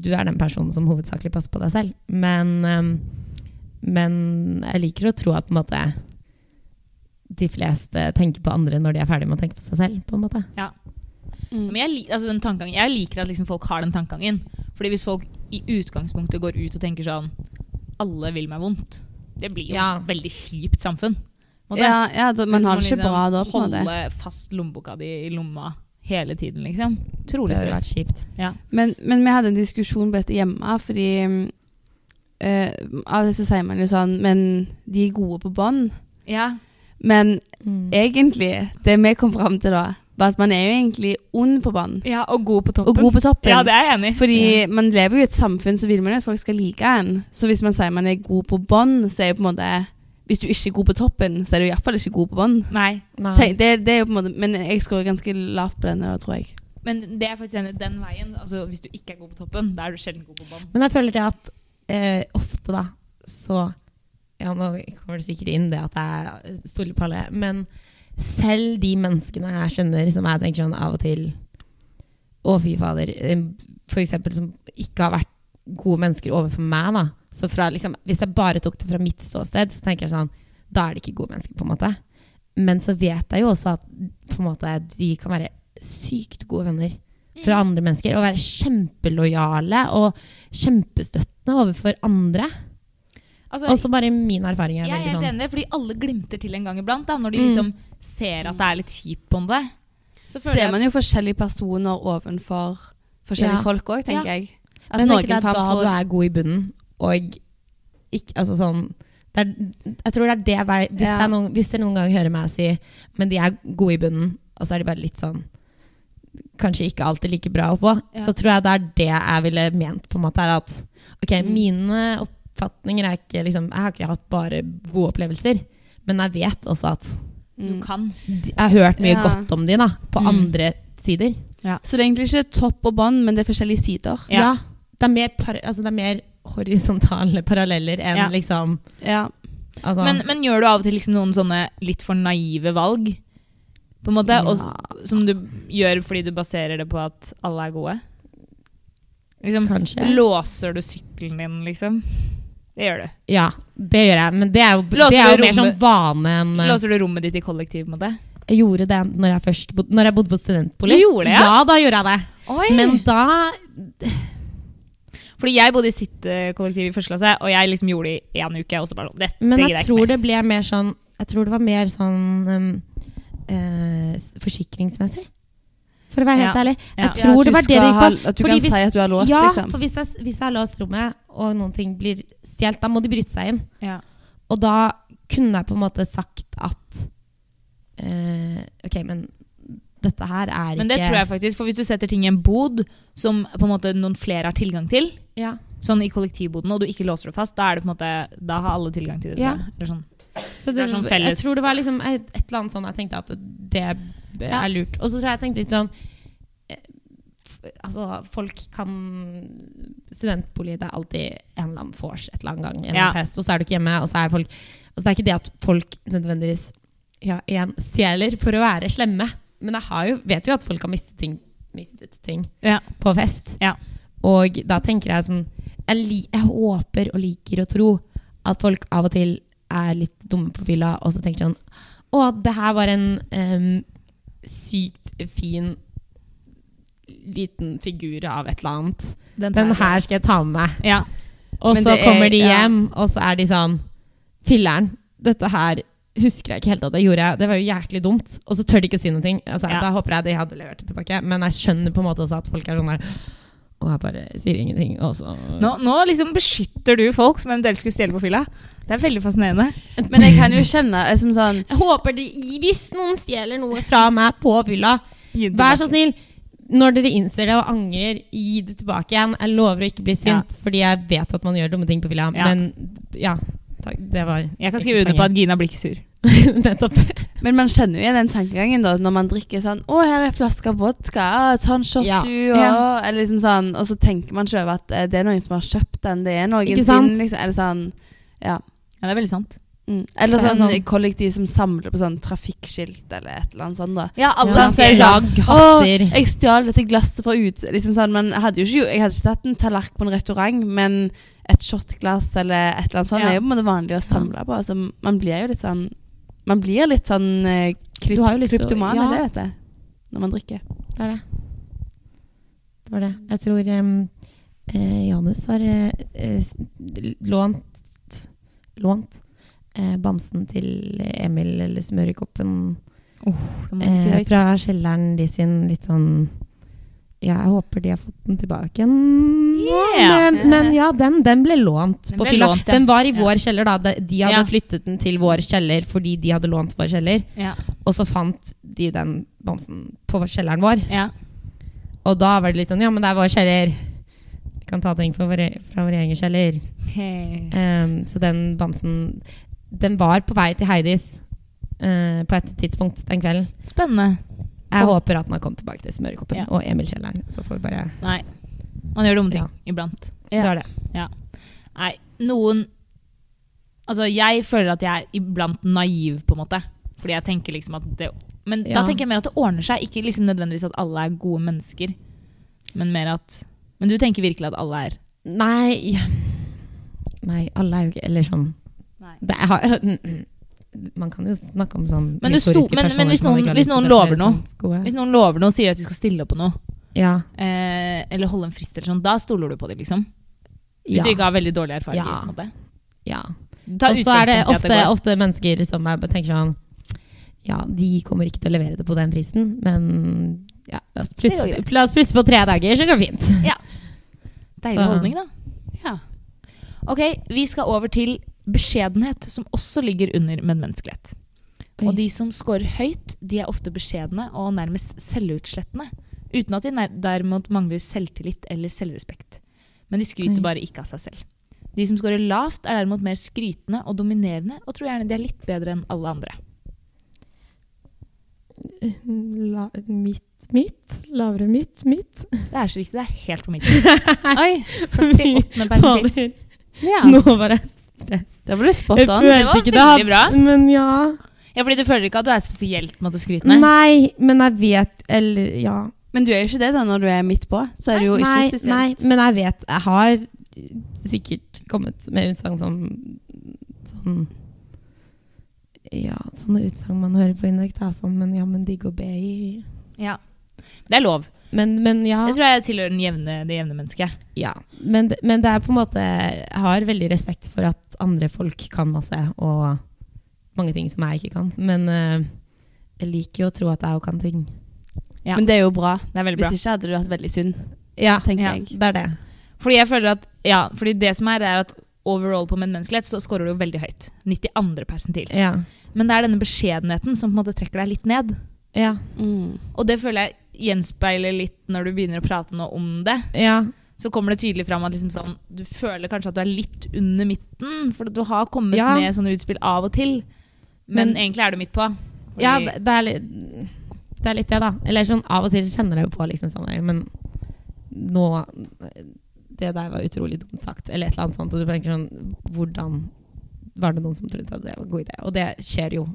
[SPEAKER 3] du er den personen som hovedsakelig passer på deg selv, men, ehm, men jeg liker å tro at på en måte de fleste tenker på andre når de er ferdig med å tenke på seg selv. på en måte.
[SPEAKER 2] Mm.
[SPEAKER 1] Men jeg, li- altså den tankegangen- jeg liker at liksom folk har den tankegangen. Fordi hvis folk i utgangspunktet går ut og tenker sånn Alle vil meg vondt. Det blir jo
[SPEAKER 3] Ja.
[SPEAKER 1] et veldig kjipt samfunn. på en måte.
[SPEAKER 2] Ja, ja da, man
[SPEAKER 1] Hvis
[SPEAKER 2] har
[SPEAKER 1] må
[SPEAKER 2] det ikke
[SPEAKER 1] liksom
[SPEAKER 2] bra da, på en måte.
[SPEAKER 1] Holde fast lommeboka di i lomma hele tiden, liksom.
[SPEAKER 3] Det
[SPEAKER 1] Trolig
[SPEAKER 3] hadde vært
[SPEAKER 1] stress.
[SPEAKER 3] kjipt.
[SPEAKER 1] Ja.
[SPEAKER 2] Men, men vi hadde en diskusjon på dette hjemme, fordi eh, av og til så sier man jo sånn Men de er gode på bånd.
[SPEAKER 1] ja.
[SPEAKER 2] Men egentlig, det vi kom fram til da, var at man er jo egentlig ond på bånd.
[SPEAKER 1] Ja, og god på toppen.
[SPEAKER 2] Og god på toppen.
[SPEAKER 1] Ja, det er jeg enig i.
[SPEAKER 2] Fordi man lever jo i et samfunn, så vil man jo at folk skal like en. Så hvis man sier man er god på bånd, så er jo på en måte Hvis du ikke er god på toppen, så er du iallfall ikke god på bånd.
[SPEAKER 1] Nei,
[SPEAKER 2] Tenk- Det, det er jo på en måte Men jeg scorer ganske lavt på denne, da, tror jeg.
[SPEAKER 1] men det er faktisk enig den veien. Altså, hvis du ikke er god på toppen, da er du sjelden god på bånn.
[SPEAKER 3] Men jeg føler det at eh, ofte da, så Ja, nå kommer det sikkert inn det at jeg stoler på alle, men selv de menneskene jeg skjønner, som jeg tenker sånn av og til Å, fy fader. eh, For eksempel som ikke har vært gode mennesker overfor meg, da. Så fra, liksom, hvis jeg bare tok det fra mitt ståsted, så tenker jeg sånn Da er det ikke gode mennesker, på en måte. Men så vet jeg jo også at på en måte, de kan være sykt gode venner fra andre mennesker. Og være kjempelojale og kjempestøttende overfor andre.
[SPEAKER 1] Altså,
[SPEAKER 3] Også bare min erfaring er
[SPEAKER 1] jeg er
[SPEAKER 3] veldig
[SPEAKER 1] helt
[SPEAKER 3] sånn.
[SPEAKER 1] enig, i det, fordi alle glimter til en gang iblant. Da, når de
[SPEAKER 3] Mm.
[SPEAKER 1] liksom ser at det er litt kjipt på det. Så
[SPEAKER 2] Så
[SPEAKER 1] føler
[SPEAKER 2] er
[SPEAKER 1] jeg
[SPEAKER 2] man jo forskjellige personer ovenfor forskjellige
[SPEAKER 3] Ja.
[SPEAKER 2] folk òg, tenker jeg. At
[SPEAKER 3] Men det er
[SPEAKER 2] noen
[SPEAKER 3] ikke det
[SPEAKER 2] faen
[SPEAKER 3] da
[SPEAKER 2] får-
[SPEAKER 3] du er god i bunnen, og ikke, altså sånn det er, Jeg tror det er det vei- hvis,
[SPEAKER 2] Ja.
[SPEAKER 3] jeg noen, hvis dere noen gang hører meg si Men de er gode i bunnen, og så er de bare litt sånn Kanskje ikke alltid like bra oppå.
[SPEAKER 1] Ja.
[SPEAKER 3] Så tror jeg det er det jeg ville ment. på en måte er at Ok,
[SPEAKER 2] Mm.
[SPEAKER 3] mine oppfatninger er ikke liksom, Jeg har ikke hatt bare gode opplevelser, men jeg vet også at
[SPEAKER 1] du
[SPEAKER 2] Mm.
[SPEAKER 1] kan.
[SPEAKER 3] de- Jeg har hørt mye
[SPEAKER 2] Ja.
[SPEAKER 3] godt om de da på
[SPEAKER 1] Mm.
[SPEAKER 3] andre sider.
[SPEAKER 2] Så det er egentlig ikke topp og bånd, men det er forskjellige sider.
[SPEAKER 1] Ja.
[SPEAKER 3] Det, er mer par, altså, det er mer horisontale paralleller enn
[SPEAKER 1] Ja.
[SPEAKER 3] liksom
[SPEAKER 2] Ja.
[SPEAKER 3] altså,
[SPEAKER 1] Men, men gjør du av og til liksom noen sånne litt for naive valg? På en måte,
[SPEAKER 3] Ja.
[SPEAKER 1] og, s- som du gjør fordi du baserer det på at alle er gode? Liksom,
[SPEAKER 3] Kanskje.
[SPEAKER 1] Låser du sykkelen din, liksom? Det gjør du.
[SPEAKER 3] Ja, det gjør jeg. Men det er jo,
[SPEAKER 1] Låser
[SPEAKER 3] det
[SPEAKER 1] du
[SPEAKER 3] er jo mer sånn
[SPEAKER 1] rommet-
[SPEAKER 3] vane enn eh,
[SPEAKER 1] Låser du rommet ditt i kollektiv? på en måte?
[SPEAKER 3] Jeg gjorde det når jeg, først bod, når jeg bodde på studentbolig.
[SPEAKER 1] Du gjorde det, ja?
[SPEAKER 3] Ja, da gjorde jeg det.
[SPEAKER 1] Oi!
[SPEAKER 3] Men da
[SPEAKER 1] Fordi jeg bodde i sitt eh, kollektiv i første klasse, og jeg liksom gjorde det i én uke. Og så bare sånn, dette
[SPEAKER 3] Men
[SPEAKER 1] gidder
[SPEAKER 3] jeg
[SPEAKER 1] ikke
[SPEAKER 3] tror
[SPEAKER 1] mer.
[SPEAKER 3] det ble mer sånn Jeg tror det var mer sånn eh, eh, s- forsikringsmessig. For å være helt
[SPEAKER 1] Ja.
[SPEAKER 3] ærlig.
[SPEAKER 1] Ja.
[SPEAKER 3] Jeg tror
[SPEAKER 2] at du
[SPEAKER 3] det var det
[SPEAKER 2] skal
[SPEAKER 3] det gikk på.
[SPEAKER 2] ha- At du
[SPEAKER 3] Fordi
[SPEAKER 2] kan
[SPEAKER 3] hvis-
[SPEAKER 2] si at du har låst,
[SPEAKER 3] ja,
[SPEAKER 2] liksom.
[SPEAKER 3] for hvis jeg, hvis jeg har låst rommet, og noen ting blir stjålet, da må de bryte seg inn.
[SPEAKER 1] Ja.
[SPEAKER 3] Og da kunne jeg på en måte sagt at eh, Ok, men dette her er
[SPEAKER 1] Men det
[SPEAKER 3] ikke
[SPEAKER 1] tror jeg faktisk, for hvis du setter ting i en bod som på en måte noen flere har tilgang til,
[SPEAKER 3] ja.
[SPEAKER 1] sånn i kollektivboden, og du ikke låser det fast, da er det på en måte, da har alle tilgang til det.
[SPEAKER 3] Ja.
[SPEAKER 1] Eller sånn.
[SPEAKER 3] Så
[SPEAKER 1] Det
[SPEAKER 3] det,
[SPEAKER 1] er sånn
[SPEAKER 3] jeg
[SPEAKER 1] felles-
[SPEAKER 3] tror det var liksom et, et eller annet sånn jeg tenkte at det
[SPEAKER 1] Ja.
[SPEAKER 3] er lurt. Og så tror jeg jeg tenkte litt sånn eh, f- Altså, folk kan Studentbolig, det er alltid en eller annen vors et eller annen gang. En eller annen
[SPEAKER 1] Ja.
[SPEAKER 3] fest, og så er du ikke hjemme, og så er folk Altså, det er ikke det at folk nødvendigvis ja, en stjeler for å være slemme, men jeg har jo, vet jo at folk har mistet ting, mistet ting
[SPEAKER 1] Ja.
[SPEAKER 3] på fest.
[SPEAKER 1] Ja.
[SPEAKER 3] Og da tenker jeg sånn jeg, li, jeg håper og liker å tro at folk av og til er litt dumme på fylla, og så tenker sånn Å, det her var en em, sykt fin liten figur av et eller annet. Den
[SPEAKER 1] tar jeg.
[SPEAKER 3] her skal jeg ta med meg.
[SPEAKER 1] Ja.
[SPEAKER 3] Og
[SPEAKER 2] Men
[SPEAKER 3] så
[SPEAKER 2] det er-
[SPEAKER 3] kommer de
[SPEAKER 2] ja.
[SPEAKER 3] hjem, og så er de sånn Filler'n, dette her husker jeg ikke helt at jeg gjorde. Det var jo jæklig dumt. Og så tør de ikke å si noe. Altså,
[SPEAKER 1] Ja.
[SPEAKER 3] Da håper jeg de hadde levert det tilbake. Men jeg skjønner på en måte også at folk er sånn der Og jeg bare sier ingenting. Og så
[SPEAKER 1] Nå, nå liksom beskytter du folk som eventuelt skulle stjele på fylla. Det er veldig fascinerende.
[SPEAKER 2] Men jeg kan jo kjenne liksom sånn
[SPEAKER 3] Jeg håper de Hvis noen stjeler noe fra meg på fylla,
[SPEAKER 1] Gi det
[SPEAKER 3] vær så
[SPEAKER 1] tilbake.
[SPEAKER 3] snill. Når dere innser det og angrer, gi det tilbake igjen. Jeg lover å ikke bli sint, fordi jeg vet at man gjør dumme ting på fylla.
[SPEAKER 1] Ja.
[SPEAKER 3] Men ja. Takk, det var
[SPEAKER 1] Jeg kan skrive under på at Gina blir ikke sur.
[SPEAKER 3] Nettopp.
[SPEAKER 2] Men man kjenner jo igjen den tankegangen da når man drikker sånn Å, her er en flaske vodka. Å, Ta en shot,
[SPEAKER 3] Ja.
[SPEAKER 2] du. Og,
[SPEAKER 1] Ja.
[SPEAKER 2] eller liksom sånn, og så tenker man ikke over at eh, det er noen som har kjøpt den. Det er noen
[SPEAKER 3] Ikke
[SPEAKER 2] sin.
[SPEAKER 3] sant?
[SPEAKER 2] Liksom, eller sånn, ja.
[SPEAKER 1] Ja, det er veldig sant.
[SPEAKER 2] Mm. Eller
[SPEAKER 3] Det er
[SPEAKER 2] sånn,
[SPEAKER 3] sånn-
[SPEAKER 2] kollektiv som samler på sånn trafikkskilt eller et eller annet sånt. da
[SPEAKER 1] Ja, alle
[SPEAKER 3] Ja,
[SPEAKER 2] så er det
[SPEAKER 1] ja.
[SPEAKER 2] sånn- Åh,
[SPEAKER 3] lag hatter.
[SPEAKER 2] jeg stjal dette glasset fra ut liksom sånn, man hadde jo ikke, Jeg hadde ikke tatt en tallerken på en restaurant, men et shotglass eller et eller annet sånt
[SPEAKER 1] Ja.
[SPEAKER 2] er jo på en måte vanlig å samle på. Så man blir jo litt sånn Man blir litt sånn eh, krypt,
[SPEAKER 3] Du har jo lyst til å-
[SPEAKER 2] kryptoman,
[SPEAKER 3] ja.
[SPEAKER 2] er det dette? Når man drikker.
[SPEAKER 3] Det er det. Det var det. Jeg tror em, eh, Janus har eh, eh, s- lånt lånt eh, bamsen til Emil eller smørekoppen
[SPEAKER 1] Det må vi si
[SPEAKER 3] eh,
[SPEAKER 1] høyt.
[SPEAKER 3] fra kjelleren de sin litt sånn ja, jeg håper de har fått den tilbake igjen. nå,
[SPEAKER 1] Yeah.
[SPEAKER 3] Men, men ja, den, den ble lånt
[SPEAKER 1] Den
[SPEAKER 3] på
[SPEAKER 1] ble
[SPEAKER 3] fylla.
[SPEAKER 1] lånt, ja.
[SPEAKER 3] Den var i
[SPEAKER 1] Ja.
[SPEAKER 3] vår kjeller, da. De- De hadde
[SPEAKER 1] Ja.
[SPEAKER 3] flyttet den til vår kjeller fordi de hadde lånt vår kjeller.
[SPEAKER 1] Ja.
[SPEAKER 3] Og så fant de den bamsen på kjelleren vår.
[SPEAKER 1] ja.
[SPEAKER 3] Og da var det litt sånn Ja, men det er vår kjeller. Vi kan ta ting fra vår, fra vår egen kjeller.
[SPEAKER 1] Hey.
[SPEAKER 3] Ehm, så den bamsen Den var på vei til Heidis eh, på et tidspunkt den kvelden.
[SPEAKER 1] Spennende.
[SPEAKER 3] Jeg
[SPEAKER 1] Kom.
[SPEAKER 3] håper at den har kommet tilbake til smørekoppen
[SPEAKER 1] Ja.
[SPEAKER 3] og Emil Kjelleren. Så får vi bare
[SPEAKER 1] Nei. Man gjør dumme ting
[SPEAKER 3] Ja.
[SPEAKER 1] iblant.
[SPEAKER 2] Ja.
[SPEAKER 3] Det var det.
[SPEAKER 1] Nei, noen Altså, jeg føler at jeg er iblant naiv, på en måte. Fordi jeg tenker liksom at det Men da
[SPEAKER 3] Ja.
[SPEAKER 1] tenker jeg mer at det ordner seg. Ikke liksom nødvendigvis at alle er gode mennesker, men mer at Men du tenker virkelig at alle er
[SPEAKER 3] Nei Nei, alle er jo ikke Eller sånn det er, mm, Man kan jo snakke om sånn
[SPEAKER 1] Men det sto-
[SPEAKER 3] historiske
[SPEAKER 1] men- men
[SPEAKER 3] personer
[SPEAKER 1] hvis
[SPEAKER 3] som man
[SPEAKER 1] noen-
[SPEAKER 3] ikke har
[SPEAKER 1] hvis
[SPEAKER 3] lyst til
[SPEAKER 1] noen
[SPEAKER 3] å definere
[SPEAKER 1] lover noe,
[SPEAKER 3] som gode.
[SPEAKER 1] Hvis noen lover noe og sier at de skal stille opp på noe,
[SPEAKER 3] Ja.
[SPEAKER 1] eh, eller holde en frist eller sånn, da stoler du på dem, liksom. Hvis
[SPEAKER 3] Ja.
[SPEAKER 1] du ikke har veldig dårlige erfaringer.
[SPEAKER 3] Ja.
[SPEAKER 1] på en måte.
[SPEAKER 3] ja.
[SPEAKER 1] Ta
[SPEAKER 3] Og så er det
[SPEAKER 1] utgangspunkt i at
[SPEAKER 3] ofte,
[SPEAKER 1] går.
[SPEAKER 3] ofte mennesker som er, tenker sånn Ja, de kommer ikke til å levere det på den prisen, men ja, la oss plusse,
[SPEAKER 1] Det går greit.
[SPEAKER 3] la oss plusse på tre dager, så går det fint.
[SPEAKER 1] Deilig
[SPEAKER 3] Så-
[SPEAKER 1] holdning, da.
[SPEAKER 2] Ja.
[SPEAKER 1] Ok, Vi skal over til beskjedenhet, som også ligger under medmenneskelighet.
[SPEAKER 3] Oi.
[SPEAKER 1] Og de som scorer høyt, de er ofte beskjedne og nærmest selvutslettende. Uten at de nær- derimot mangler selvtillit eller selvrespekt. Men de skryter
[SPEAKER 3] Oi.
[SPEAKER 1] bare ikke av seg selv. De som scorer lavt, er derimot mer skrytende og dominerende, og tror gjerne de er litt bedre enn alle andre.
[SPEAKER 3] La, mitt, mitt. Lavere mitt, mitt.
[SPEAKER 1] Det er så riktig. Det er helt på midten.
[SPEAKER 2] Oi.
[SPEAKER 1] 48. persentil.
[SPEAKER 3] Fader,
[SPEAKER 2] Ja.
[SPEAKER 3] Nå var jeg stress.
[SPEAKER 2] Da var du spot
[SPEAKER 3] Jeg
[SPEAKER 2] on.
[SPEAKER 1] Det var
[SPEAKER 3] følte ikke det.
[SPEAKER 1] veldig bra.
[SPEAKER 3] Men ja.
[SPEAKER 1] Ja, fordi du føler ikke at du er spesielt måtte skrytende?
[SPEAKER 3] Nei, men jeg vet Eller ja.
[SPEAKER 2] Men du er jo ikke det da når du er midt på. Så er du jo ikke
[SPEAKER 3] nei,
[SPEAKER 2] spesielt.
[SPEAKER 3] nei, men jeg vet Jeg har sikkert kommet med utsagn som sånn Ja, sånne utsagn man hører på Indek. Det er sånn Men ja, men digg og be i
[SPEAKER 1] Ja. Det er lov.
[SPEAKER 3] Men, men ja.
[SPEAKER 1] Det tror jeg tilhører den jevne, det jevne mennesket.
[SPEAKER 3] ja. Men, det- men det er på en måte Jeg har veldig respekt for at andre folk kan masse, og mange ting som jeg ikke kan. Men eh, jeg liker jo å tro at jeg òg kan ting.
[SPEAKER 1] Ja.
[SPEAKER 2] Men det er jo bra.
[SPEAKER 1] Det er veldig bra.
[SPEAKER 2] Hvis ikke hadde du vært veldig sunn,
[SPEAKER 3] Ah, Ja,
[SPEAKER 2] tenker
[SPEAKER 1] Ja.
[SPEAKER 2] jeg.
[SPEAKER 3] det er det.
[SPEAKER 1] Fordi jeg føler at Ja, fordi det som er, er at overall på medmenneskelighet så scorer du jo veldig høyt. 92. persentil.
[SPEAKER 3] Ja.
[SPEAKER 1] Men det er denne beskjedenheten som på en måte trekker deg litt ned.
[SPEAKER 3] Ja.
[SPEAKER 2] Mm.
[SPEAKER 1] Og det føler jeg gjenspeiler litt når du begynner å prate nå om det.
[SPEAKER 3] ja.
[SPEAKER 1] Så kommer det tydelig fram at liksom sånn, du føler kanskje at du er litt under midten, for du har kommet
[SPEAKER 3] Ja.
[SPEAKER 1] med sånne utspill av og til, men,
[SPEAKER 3] Men-
[SPEAKER 1] egentlig er du midt på. Fordi-
[SPEAKER 3] Ja, det, det, er litt, det er litt det, da. Eller sånn av og til kjenner jeg jo på liksom sånn der, Men nå Det der var utrolig dumt sagt, eller et eller annet sånt. Og du tenker sånn Hvordan var det noen som trodde at det var en god idé? Og det skjer jo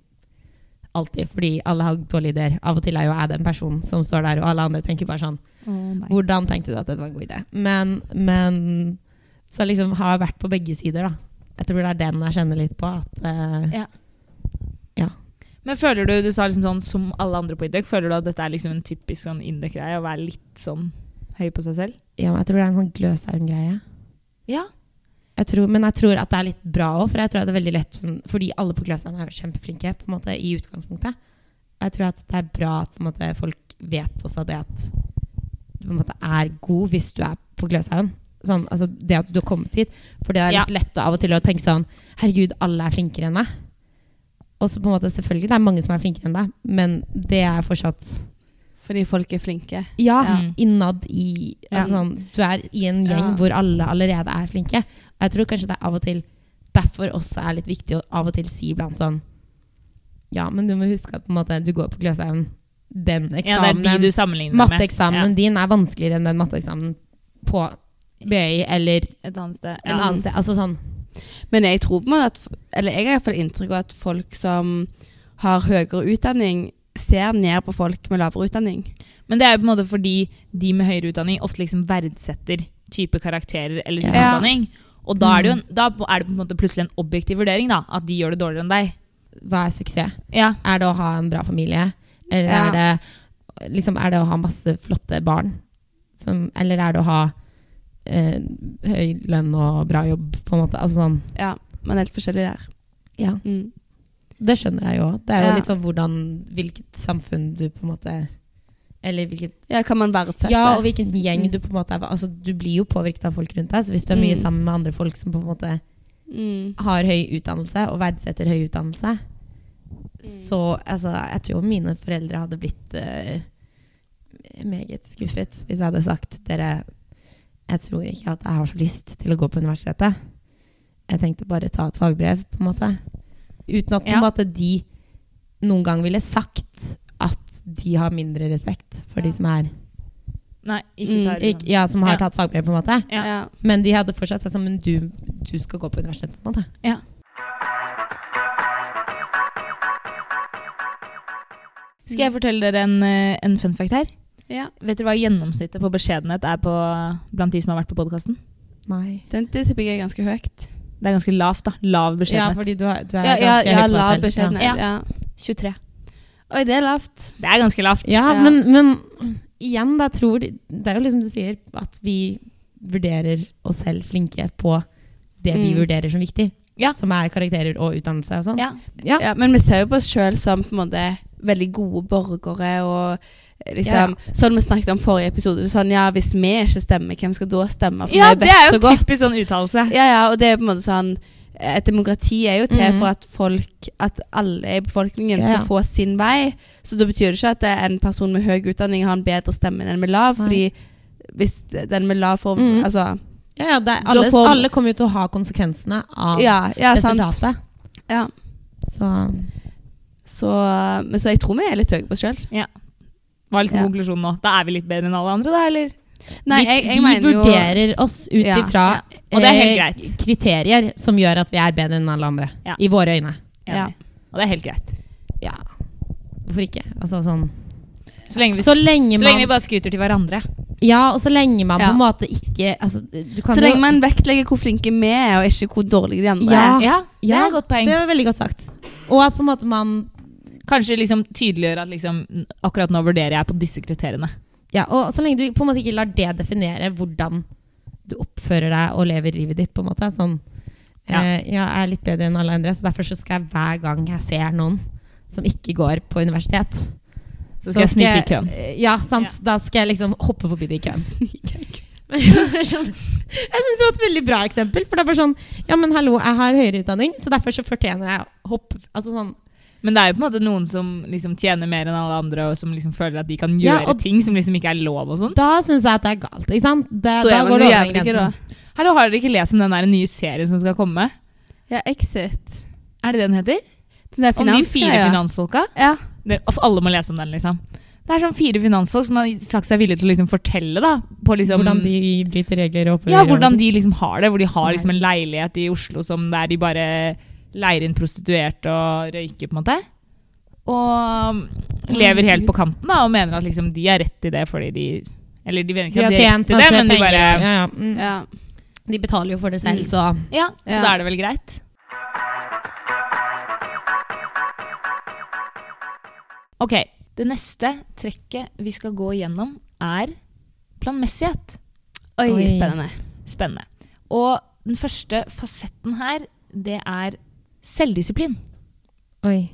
[SPEAKER 3] alltid, fordi alle har dårlige ideer. Av og til er jo jeg den personen som står der, og alle andre tenker bare sånn
[SPEAKER 1] Å, nei.
[SPEAKER 3] Hvordan tenkte du at dette var en god idé? Men, men så liksom har jeg vært på begge sider, da. Jeg tror det er den jeg kjenner litt på. At eh,
[SPEAKER 1] Men føler du, du sa liksom sånn som alle andre på Indøk, føler du at dette er liksom en typisk sånn Indøk-greie, å være litt sånn høy på seg selv?
[SPEAKER 3] ja, jeg tror det er en sånn Gløshaugen-greie.
[SPEAKER 1] Ja.
[SPEAKER 3] Jeg tror, men jeg tror at det er litt bra òg, for jeg tror at det er veldig lett sånn, Fordi alle på Gløshaugen er jo kjempeflinke på en måte, i utgangspunktet. Jeg tror at det er bra at på en måte, folk vet også det at du på en måte er god hvis du er på Gløshaugen. Sånn, altså det at du har kommet hit. For det er litt lett av og til å tenke sånn Herregud, alle er flinkere enn meg. Og så på en måte selvfølgelig, det er mange som er flinkere enn deg, men det er fortsatt
[SPEAKER 2] Fordi folk er flinke.
[SPEAKER 3] ja,
[SPEAKER 1] Ja.
[SPEAKER 3] innad i
[SPEAKER 1] Ja.
[SPEAKER 3] altså sånn, Du er i en gjeng
[SPEAKER 2] Ja.
[SPEAKER 3] hvor alle allerede er flinke. Og jeg tror kanskje det er av og til derfor også er litt viktig å av og til si iblant sånn Ja, men du må huske at på en måte, du går på Gløshaugen. Den
[SPEAKER 1] ja, det er
[SPEAKER 3] eksamenen
[SPEAKER 1] de du sammenligner deg med.
[SPEAKER 3] Matteeksamenen din er vanskeligere enn den matteeksamenen på BI eller
[SPEAKER 1] Ja, et annet sted.
[SPEAKER 3] en annen sted. Altså sånn
[SPEAKER 2] Men jeg tror på en måte at Eller jeg har iallfall inntrykk av at folk som har høyere utdanning, ser ned på folk med lavere utdanning.
[SPEAKER 1] Men det er jo på en måte fordi de med høyere utdanning ofte liksom verdsetter type karakterer eller type Mm.
[SPEAKER 2] Ja.
[SPEAKER 1] utdanning. Og da er, det jo en, da er det på en måte plutselig en objektiv vurdering da, at de gjør det dårligere enn deg.
[SPEAKER 3] hva er suksess?
[SPEAKER 1] Ja.
[SPEAKER 3] Er det å ha en bra familie? Eller
[SPEAKER 2] Ja.
[SPEAKER 3] er, det, liksom, er det å ha masse flotte barn? Som, eller er det å ha eh, høy lønn og bra jobb, på en måte? Altså sånn,
[SPEAKER 2] Ja, man er helt forskjellig der.
[SPEAKER 3] ja.
[SPEAKER 2] Mm.
[SPEAKER 3] Det skjønner jeg jo. Det er jo
[SPEAKER 2] Ja.
[SPEAKER 3] litt sånn hvordan, hvilket samfunn du på en måte Eller hvilket
[SPEAKER 2] Ja, kan man verdsette?
[SPEAKER 3] Ja, og hvilken gjeng
[SPEAKER 2] Mm.
[SPEAKER 3] du på en måte er altså, Du blir jo påvirket av folk rundt deg, så hvis du er mye
[SPEAKER 2] Mm.
[SPEAKER 3] sammen med andre folk som på en måte
[SPEAKER 2] mm.
[SPEAKER 3] har høy utdannelse og verdsetter høy utdannelse,
[SPEAKER 1] Mm.
[SPEAKER 3] så altså, jeg tror mine foreldre hadde blitt eh, meget skuffet hvis jeg hadde sagt dere, jeg tror ikke at jeg har så lyst til å gå på universitetet. Jeg tenkte bare ta et fagbrev, på en måte. Uten at på
[SPEAKER 1] Ja.
[SPEAKER 3] en måte de noen gang ville sagt at de har mindre respekt for
[SPEAKER 1] Ja.
[SPEAKER 3] de som er
[SPEAKER 1] Nei, ikke
[SPEAKER 2] Mm,
[SPEAKER 1] ta det.
[SPEAKER 3] ikke, ja, som har
[SPEAKER 1] Ja.
[SPEAKER 3] tatt fagbrev, på en måte.
[SPEAKER 1] Ja.
[SPEAKER 2] ja.
[SPEAKER 3] Men de hadde fortsatt sagt sånn, men du, du skal gå på universitetet, på en måte.
[SPEAKER 1] Ja. Skal jeg fortelle dere en, eh, en fun fact her?
[SPEAKER 2] Ja.
[SPEAKER 1] Vet dere hva gjennomsnittet på beskjedenhet er på, blant de som har vært på podkasten?
[SPEAKER 3] Nei.
[SPEAKER 2] Den, det tipper jeg er ganske høyt.
[SPEAKER 1] Det er ganske lavt, da. Lav
[SPEAKER 3] Ja,
[SPEAKER 1] beskjedenhet.
[SPEAKER 3] fordi du, har- du er
[SPEAKER 2] Ja, ja,
[SPEAKER 3] ganske
[SPEAKER 2] ja
[SPEAKER 3] høy på
[SPEAKER 2] lav
[SPEAKER 3] deg selv.
[SPEAKER 2] beskjedenhet. Ja.
[SPEAKER 1] 23.
[SPEAKER 2] Oi, det er lavt.
[SPEAKER 1] Det er ganske lavt.
[SPEAKER 3] Ja,
[SPEAKER 2] Ja.
[SPEAKER 3] Men, men igjen, da tror de, Det er jo liksom du sier, at vi vurderer oss selv flinke på det vi
[SPEAKER 2] Mm.
[SPEAKER 3] vurderer som viktig.
[SPEAKER 1] Ja.
[SPEAKER 3] Som er karakterer og utdannelse og sånn.
[SPEAKER 1] Ja.
[SPEAKER 3] Ja.
[SPEAKER 2] Ja, men vi ser jo på oss sjøl som på en måte veldig gode borgere og liksom Sånn vi snakket om forrige episode. Sånn, ja, hvis vi ikke stemmer, hvem skal da stemme? For
[SPEAKER 1] Ja,
[SPEAKER 2] vi
[SPEAKER 1] det
[SPEAKER 2] vet
[SPEAKER 1] er jo
[SPEAKER 2] så godt.
[SPEAKER 1] typisk sånn uttalelse.
[SPEAKER 2] Ja, ja, og det er jo på en måte sånn Et demokrati er jo til
[SPEAKER 3] Mhm.
[SPEAKER 2] for at folk At alle i befolkningen
[SPEAKER 3] Ja,
[SPEAKER 2] skal
[SPEAKER 3] ja.
[SPEAKER 2] få sin vei. Så da betyr det ikke at det er en person med høy utdanning har en bedre stemme enn en med lav.
[SPEAKER 3] Nei.
[SPEAKER 2] Fordi hvis den med lav får
[SPEAKER 3] Mhm.
[SPEAKER 2] Altså,
[SPEAKER 3] ja, ja det er, alle,
[SPEAKER 2] Da får-
[SPEAKER 3] alle kommer jo til å ha konsekvensene av
[SPEAKER 2] ja, ja sant.
[SPEAKER 3] resultatet.
[SPEAKER 2] Ja.
[SPEAKER 3] Så
[SPEAKER 2] Så, men så jeg tror vi er litt høye på oss sjøl.
[SPEAKER 1] Hva er liksom
[SPEAKER 2] Ja.
[SPEAKER 1] konklusjonen nå? Da er vi litt bedre enn alle andre, da, eller?
[SPEAKER 2] Nei,
[SPEAKER 3] vi,
[SPEAKER 2] jeg, jeg
[SPEAKER 3] vi
[SPEAKER 2] mener jo
[SPEAKER 3] vurderer oss ut
[SPEAKER 2] Ja,
[SPEAKER 3] ifra
[SPEAKER 1] Og det er helt
[SPEAKER 3] eh,
[SPEAKER 1] greit.
[SPEAKER 3] kriterier som gjør at vi er bedre enn alle andre.
[SPEAKER 1] Ja.
[SPEAKER 3] I våre øyne.
[SPEAKER 2] Ja.
[SPEAKER 1] Enig. Og det er helt greit.
[SPEAKER 3] Ja. Hvorfor ikke? Altså sånn
[SPEAKER 1] Så lenge vi, så
[SPEAKER 3] Så lenge man
[SPEAKER 1] lenge vi bare skryter til hverandre.
[SPEAKER 3] Ja, og så lenge man
[SPEAKER 2] Ja.
[SPEAKER 3] på en måte ikke altså, du kan
[SPEAKER 2] Så
[SPEAKER 3] jo-
[SPEAKER 2] lenge man vektlegger hvor flinke vi er, og ikke hvor dårlige de andre
[SPEAKER 3] Ja.
[SPEAKER 2] er.
[SPEAKER 1] Ja, det
[SPEAKER 3] Ah, Ja,
[SPEAKER 1] er et godt poeng.
[SPEAKER 3] Det var veldig godt sagt. Og at på en måte man
[SPEAKER 1] Kanskje liksom tydeliggjøre at liksom, akkurat nå vurderer jeg på disse kriteriene.
[SPEAKER 3] Ja, og så lenge du på en måte ikke lar det definere hvordan du oppfører deg og lever livet ditt, på en måte. Sånn
[SPEAKER 1] Ja.
[SPEAKER 3] eh, ja, jeg er litt bedre enn alle andre, så derfor så skal jeg hver gang jeg ser noen som ikke går på universitet
[SPEAKER 1] Så skal jeg snike i køen.
[SPEAKER 3] eh, Ja, sant. Da skal jeg liksom hoppe forbi de i køen. Sånn. Jeg syns det var et veldig bra eksempel. For det er bare sånn Ja, men hallo, jeg har høyere utdanning, så derfor så fortjener jeg å hoppe Altså sånn
[SPEAKER 1] Men det er jo på en måte noen som liksom tjener mer enn alle andre, og som liksom føler at de kan
[SPEAKER 3] Ja,
[SPEAKER 1] gjøre
[SPEAKER 3] og-
[SPEAKER 1] ting som liksom ikke er lov og sånn.
[SPEAKER 3] Da syns jeg at det er galt, ikke sant? Det, da,
[SPEAKER 2] Da er man
[SPEAKER 3] går
[SPEAKER 2] jo
[SPEAKER 3] det over den
[SPEAKER 2] jævlige, da.
[SPEAKER 3] grensen.
[SPEAKER 1] Hallo, har dere ikke lest om den der nye serien som skal komme?
[SPEAKER 2] Ja, Exit.
[SPEAKER 1] Er det det den heter?
[SPEAKER 2] Den der
[SPEAKER 1] Om de fire
[SPEAKER 2] finansgreia.
[SPEAKER 1] finansfolka?
[SPEAKER 2] Ja.
[SPEAKER 1] Dere- Uff, alle må lese om den, liksom. Det er sånn fire finansfolk som har sagt seg villige til å liksom fortelle da, på liksom
[SPEAKER 3] Hvordan de bryter regler og opererer.
[SPEAKER 1] Ja, hvordan de liksom har det. Hvor de har
[SPEAKER 3] Nei.
[SPEAKER 1] liksom en leilighet i Oslo som der de bare leier inn prostituerte og røyker, på en måte. Og lever helt på kanten da, og mener at liksom de har rett i det fordi de Eller de mener
[SPEAKER 3] De
[SPEAKER 1] ikke
[SPEAKER 3] har
[SPEAKER 1] at de har rett i
[SPEAKER 3] tjent
[SPEAKER 1] det,
[SPEAKER 3] masse
[SPEAKER 1] men de bare
[SPEAKER 3] penger. ja, ja. Mm.
[SPEAKER 2] ja.
[SPEAKER 3] De betaler jo for det selv,
[SPEAKER 2] Mm.
[SPEAKER 3] så
[SPEAKER 1] Ja, så
[SPEAKER 2] Ja.
[SPEAKER 1] da er det vel greit. Ok, det neste trekket vi skal gå igjennom, er planmessighet.
[SPEAKER 2] Oi,
[SPEAKER 3] Oi.
[SPEAKER 2] spennende.
[SPEAKER 1] Spennende. Og den første fasetten her, det er selvdisiplin.
[SPEAKER 3] Oi.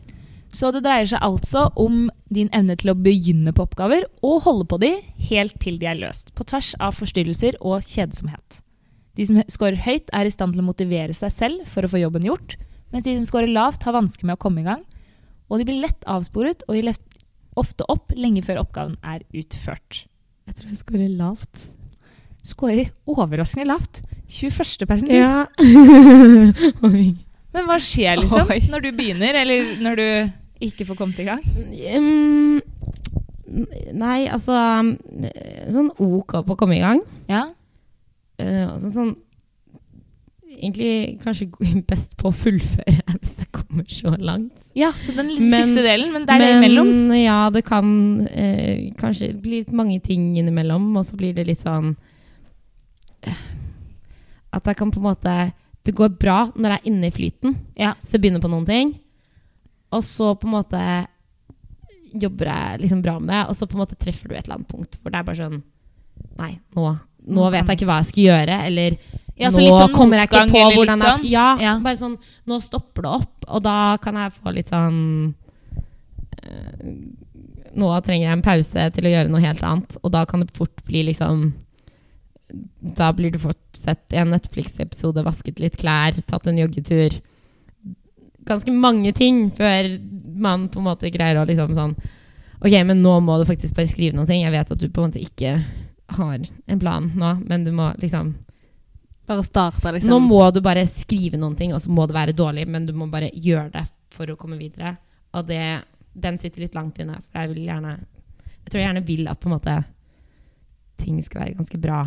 [SPEAKER 1] Så det dreier seg altså om din evne til å begynne på oppgaver og holde på de helt til de er løst, på tvers av forstyrrelser og kjedsomhet. De som scorer høyt, er i stand til å motivere seg selv for å få jobben gjort, mens de som scorer lavt, har vansker med å komme i gang. Og de blir lett avsporet og gir left- ofte opp lenge før oppgaven er utført.
[SPEAKER 3] Jeg tror jeg scorer lavt.
[SPEAKER 1] Skårer overraskende lavt. 21. persentil.
[SPEAKER 3] Ja. Oi.
[SPEAKER 1] Men hva skjer liksom
[SPEAKER 2] Oi.
[SPEAKER 1] når du begynner, eller når du ikke får kommet i gang?
[SPEAKER 3] Mm, nei, altså Sånn ok på å komme i gang.
[SPEAKER 1] Ja,
[SPEAKER 3] Eh, altså sånn Egentlig kanskje go- best på å fullføre hvis jeg kommer så langt.
[SPEAKER 1] ja så den litt
[SPEAKER 3] Men-
[SPEAKER 1] siste delen, men det er det imellom.
[SPEAKER 3] ja, det kan eh, kanskje bli litt mange ting innimellom, og så blir det litt sånn eh, At jeg kan på en måte Det går bra når jeg er inne i flyten,
[SPEAKER 1] Ja.
[SPEAKER 3] så jeg begynner på noen ting. Og så på en måte jobber jeg liksom bra med det, og så på en måte treffer du et eller annet punkt. For det er bare sånn Nei, nå, nå vet jeg ikke hva jeg skal gjøre. Eller
[SPEAKER 1] Ja, så
[SPEAKER 3] nå
[SPEAKER 1] litt sånn
[SPEAKER 3] kommer jeg ikke
[SPEAKER 1] motgang,
[SPEAKER 3] på
[SPEAKER 1] eller
[SPEAKER 3] hvordan
[SPEAKER 1] litt
[SPEAKER 3] jeg skal
[SPEAKER 1] sånn.
[SPEAKER 3] ja,
[SPEAKER 1] Ja.
[SPEAKER 3] bare sånn Nå stopper det opp, og da kan jeg få litt sånn eh, Nå trenger jeg en pause til å gjøre noe helt annet, og da kan det fort bli liksom da blir du fort sett i en Netflix-episode, vasket litt klær, tatt en joggetur. Ganske mange ting før man på en måte greier å liksom sånn Ok, men nå må du faktisk bare skrive noen ting. Jeg vet at du på en måte ikke har en plan nå, men du må liksom
[SPEAKER 2] Bare starte, liksom.
[SPEAKER 3] Nå må du bare skrive noen ting, og så må det være dårlig, men du må bare gjøre det for å komme videre. Og det, den sitter litt langt inne, for jeg vil gjerne Jeg tror jeg gjerne vil at på en måte ting skal være ganske bra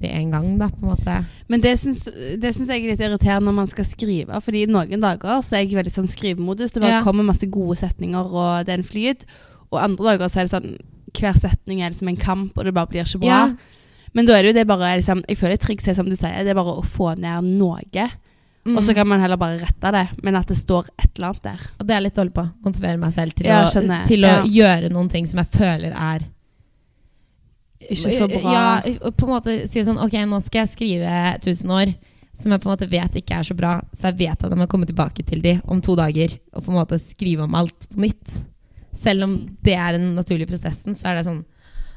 [SPEAKER 3] med en gang, da, på en måte.
[SPEAKER 2] Men det syns, det syns jeg er litt irriterende når man skal skrive. Fordi noen dager så er jeg i veldig sånn skrivemodus. Det bare
[SPEAKER 3] Ja.
[SPEAKER 2] kommer masse gode setninger, og det er en flyt. Og andre dager så er det sånn Hver setning er liksom en kamp, og det bare blir ikke bra.
[SPEAKER 3] Ja.
[SPEAKER 2] Men da er det jo det bare liksom, Jeg føler et triks er som du sier, det er bare å få ned noe. Og så
[SPEAKER 3] Mm.
[SPEAKER 2] kan man heller bare rette det, men at det står et eller annet der.
[SPEAKER 3] Og det er jeg litt dårlig på. Motivere meg selv til,
[SPEAKER 2] Ja,
[SPEAKER 3] å,
[SPEAKER 2] skjønner jeg.
[SPEAKER 3] til å
[SPEAKER 2] Ja.
[SPEAKER 3] gjøre noen ting som jeg føler er
[SPEAKER 2] Ikke så bra.
[SPEAKER 3] Ja, og på en måte si sånn Ok, nå skal jeg skrive 1000 år, som jeg på en måte vet ikke er så bra, så jeg vet at jeg må komme tilbake til de om to dager og på en måte skrive om alt på nytt. Selv om det er den naturlige prosessen, så er det sånn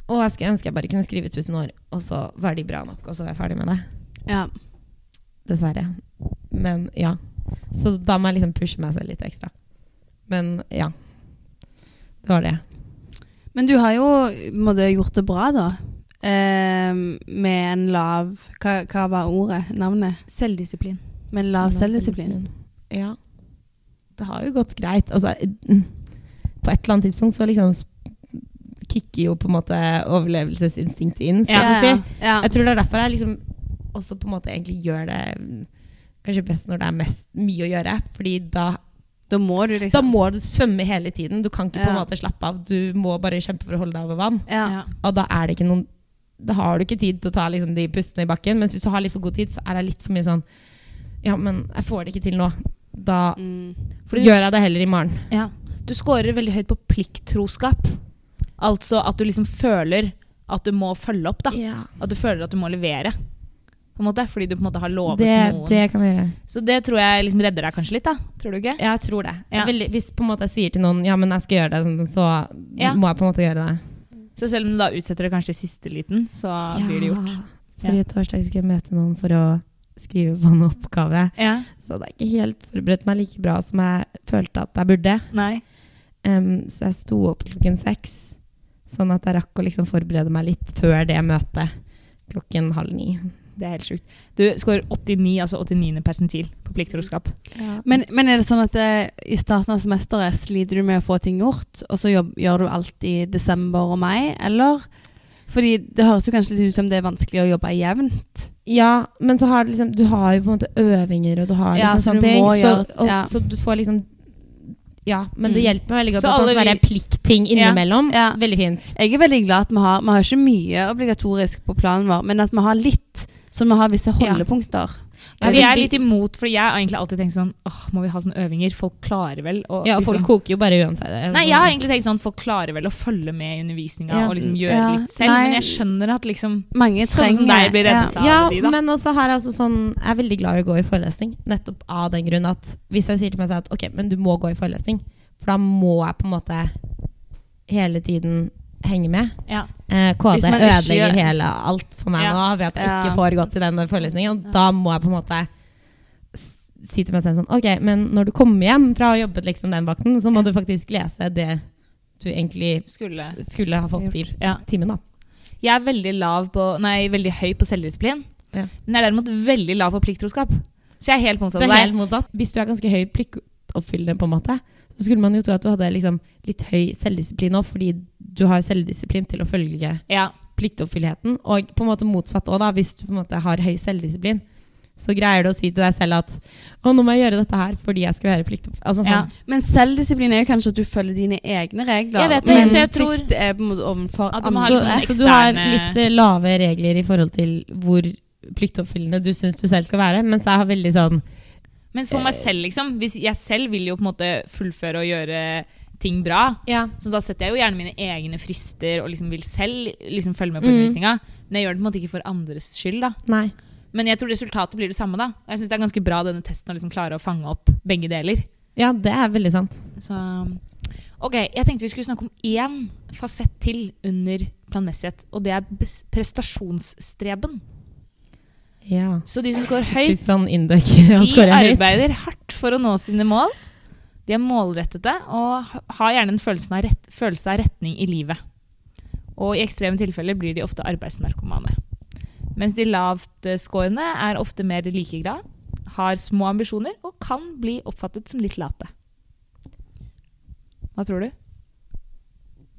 [SPEAKER 3] Å, jeg skulle ønske jeg bare kunne skrive 1000 år, og så var de bra nok, og så var jeg ferdig med det.
[SPEAKER 2] Ja.
[SPEAKER 3] Dessverre. Men ja. Så da må jeg liksom pushe meg selv litt ekstra. Men ja. Det var det.
[SPEAKER 2] Men du har jo på en måte, gjort det bra, da. Ehm, med en lav hva, hva var ordet? Navnet?
[SPEAKER 1] Selvdisiplin.
[SPEAKER 2] Med en lav selvdisiplin.
[SPEAKER 3] Ja. Det har jo gått greit. Altså, mm, på et eller annet tidspunkt så liksom s- kicker jo på en måte overlevelsesinstinktet inn, skal
[SPEAKER 1] Ja.
[SPEAKER 3] jeg si.
[SPEAKER 2] Ja.
[SPEAKER 3] Jeg tror det er derfor jeg liksom også på en måte egentlig gjør det mm, kanskje best når det er mest mye å gjøre. Fordi da,
[SPEAKER 2] Da må du
[SPEAKER 3] da
[SPEAKER 2] liksom
[SPEAKER 3] må du svømme hele tiden. Du kan ikke på en
[SPEAKER 2] Ja.
[SPEAKER 3] måte slappe av. Du må bare kjempe for å holde deg over vann.
[SPEAKER 2] ja.
[SPEAKER 1] Ja.
[SPEAKER 3] Og da er det ikke noen Da har du ikke tid til å ta liksom, de pustene i bakken. Mens hvis du har litt for god tid, så er det litt for mye sånn Ja, men jeg får det ikke til nå. Da
[SPEAKER 2] Mm.
[SPEAKER 1] Fordi du-
[SPEAKER 3] gjør jeg det heller i morgen.
[SPEAKER 1] Ja. Du scorer veldig høyt på plikttroskap. Altså at du liksom føler at du må følge opp, da. At du føler at du må levere. På en måte, fordi du på en måte har lovet
[SPEAKER 3] Det,
[SPEAKER 1] noen.
[SPEAKER 3] det kan jeg gjøre.
[SPEAKER 1] Så det tror jeg liksom redder deg kanskje litt, da. Tror du ikke?
[SPEAKER 3] Jeg tror det. Jeg
[SPEAKER 1] Ja.
[SPEAKER 3] er veldig- hvis på en måte jeg sier til noen ja, men jeg skal gjøre det, så
[SPEAKER 1] Ja.
[SPEAKER 3] må jeg på en måte gjøre det.
[SPEAKER 1] Så selv om du da utsetter det kanskje til siste liten, så blir det gjort.
[SPEAKER 3] Forrige torsdag skulle jeg møte noen for å skrive på en oppgave.
[SPEAKER 1] Ja.
[SPEAKER 3] Så det er ikke helt forberedt meg like bra som jeg følte at jeg burde.
[SPEAKER 1] Nei.
[SPEAKER 3] Em, så jeg sto opp klokken seks, sånn at jeg rakk å liksom forberede meg litt før det møtet klokken halv ni.
[SPEAKER 1] Det er helt sjukt. Du scorer 89, altså 89. persentil på plikttroskap.
[SPEAKER 3] Mm.
[SPEAKER 2] Men, men er det sånn at eh, i starten av semesteret sliter du med å få ting gjort, og så jobb, gjør du alt i desember og mai, eller? Fordi det høres jo kanskje litt ut som det er vanskelig å jobbe jevnt.
[SPEAKER 3] Ja, men så har du liksom Du har jo på en måte øvinger, og du har
[SPEAKER 2] Ja,
[SPEAKER 3] liksom
[SPEAKER 2] så
[SPEAKER 3] sånne
[SPEAKER 2] du
[SPEAKER 3] ting.
[SPEAKER 2] må
[SPEAKER 3] Så,
[SPEAKER 2] gjøre-
[SPEAKER 3] og,
[SPEAKER 2] ja.
[SPEAKER 3] så du får liksom Ja, men det
[SPEAKER 2] Mm.
[SPEAKER 3] hjelper meg veldig godt
[SPEAKER 1] Så
[SPEAKER 3] at det
[SPEAKER 1] alle
[SPEAKER 3] kan være
[SPEAKER 1] vi-
[SPEAKER 3] pliktting
[SPEAKER 1] Ja.
[SPEAKER 3] innimellom.
[SPEAKER 2] Ja.
[SPEAKER 3] Veldig fint.
[SPEAKER 2] Jeg er veldig glad at vi har, vi har ikke mye obligatorisk på planen vår, men at vi har litt, så vi har visse holdepunkter.
[SPEAKER 3] Ja,
[SPEAKER 1] vi er
[SPEAKER 3] veldig-
[SPEAKER 1] litt imot, fordi jeg har egentlig alltid tenkt sånn Åh, må vi ha sånne øvinger? Folk klarer vel å
[SPEAKER 3] Ja, folk
[SPEAKER 1] liksom,
[SPEAKER 3] koker jo bare uansett. Altså,
[SPEAKER 1] Nei, jeg har egentlig tenkt sånn Folk klarer vel å følge med i undervisninga
[SPEAKER 3] Ja.
[SPEAKER 1] og liksom gjøre
[SPEAKER 2] Ja.
[SPEAKER 1] litt selv.
[SPEAKER 2] Nei.
[SPEAKER 1] Men jeg skjønner at liksom
[SPEAKER 2] Mange
[SPEAKER 1] Sånne
[SPEAKER 2] trenger
[SPEAKER 1] som deg blir reddet av
[SPEAKER 3] ja,
[SPEAKER 1] de, da.
[SPEAKER 3] men også har jeg altså sånn Jeg er veldig glad i å gå i forelesning, nettopp av den grunn at hvis jeg sier til meg selv at ok, men du må gå i forelesning, for da må jeg på en måte hele tiden henge med.
[SPEAKER 1] Ja.
[SPEAKER 3] Eh, KD
[SPEAKER 2] Hvis man ikke
[SPEAKER 3] ødelegger
[SPEAKER 2] gjør-
[SPEAKER 3] hele alt for meg
[SPEAKER 1] Ja.
[SPEAKER 3] nå ved at jeg
[SPEAKER 2] Ja.
[SPEAKER 3] ikke får gått i den forelesningen. Og da må jeg på en måte s- si til meg selv sånn Ok, men når du kommer hjem fra å ha jobbet liksom den vakten, så må du faktisk lese det du egentlig
[SPEAKER 1] Skulle
[SPEAKER 3] skulle ha fått i
[SPEAKER 1] Ja.
[SPEAKER 3] timen, da.
[SPEAKER 1] Jeg er veldig, lav på, nei, veldig høy på selvdisiplin,
[SPEAKER 3] Ja.
[SPEAKER 1] men jeg er derimot veldig lav på plikttroskap. Så jeg er helt motsatt av
[SPEAKER 3] Det er
[SPEAKER 1] deg.
[SPEAKER 3] helt motsatt. Hvis du er ganske høy pliktoppfyllende, på en måte, så skulle man jo tro at du hadde liksom litt høy selvdisiplin òg, fordi du har selvdisiplin til å følge
[SPEAKER 1] Ja.
[SPEAKER 3] pliktoppfyllheten. Og på en måte motsatt òg, da. Hvis du på en måte har høy selvdisiplin, så greier du å si til deg selv at å, nå må jeg gjøre dette her fordi jeg skal være pliktopp... Altså
[SPEAKER 1] Ja.
[SPEAKER 3] sånn.
[SPEAKER 2] Men selvdisiplin er jo kanskje at du følger dine egne regler.
[SPEAKER 1] Jeg vet det,
[SPEAKER 2] men
[SPEAKER 1] så jeg tror-
[SPEAKER 2] plikt er på en måte overfor
[SPEAKER 1] At du må ha
[SPEAKER 3] Så,
[SPEAKER 1] litt
[SPEAKER 2] andre.
[SPEAKER 1] sånn
[SPEAKER 3] så du har liksom
[SPEAKER 1] eksterne-
[SPEAKER 3] litt eh, lave regler i forhold til hvor pliktoppfyllende du syns du selv skal være, mens jeg har veldig sånn
[SPEAKER 1] Mens for meg selv, liksom. Hvis jeg selv vil jo på en måte fullføre og gjøre ting bra.
[SPEAKER 3] Ja.
[SPEAKER 1] Så da setter jeg jo gjerne mine egne frister og liksom vil selv liksom følge med på undervisninga. Men jeg gjør det på en måte ikke for andres skyld, da.
[SPEAKER 3] Nei.
[SPEAKER 1] Men jeg tror resultatet blir det samme, da. Og jeg syns det er ganske bra denne testen å liksom klare å fange opp begge deler.
[SPEAKER 3] Ja, det er veldig sant.
[SPEAKER 1] Så OK, jeg tenkte vi skulle snakke om én fasett til under planmessighet, og det er bes- prestasjonsstreben.
[SPEAKER 3] Ja.
[SPEAKER 1] Så de som scorer høyt,
[SPEAKER 3] Litt sånn indøk. Han
[SPEAKER 1] de
[SPEAKER 3] scorer høyt.
[SPEAKER 1] arbeider hardt for å nå sine mål. De er målrettede og ha- har gjerne en følelse av, rett, følelse av retning i livet. Og i ekstreme tilfeller blir de ofte arbeidsnarkomane. Mens de lavtskårende er ofte mer likeglade, har små ambisjoner og kan bli oppfattet som litt late. Hva tror du?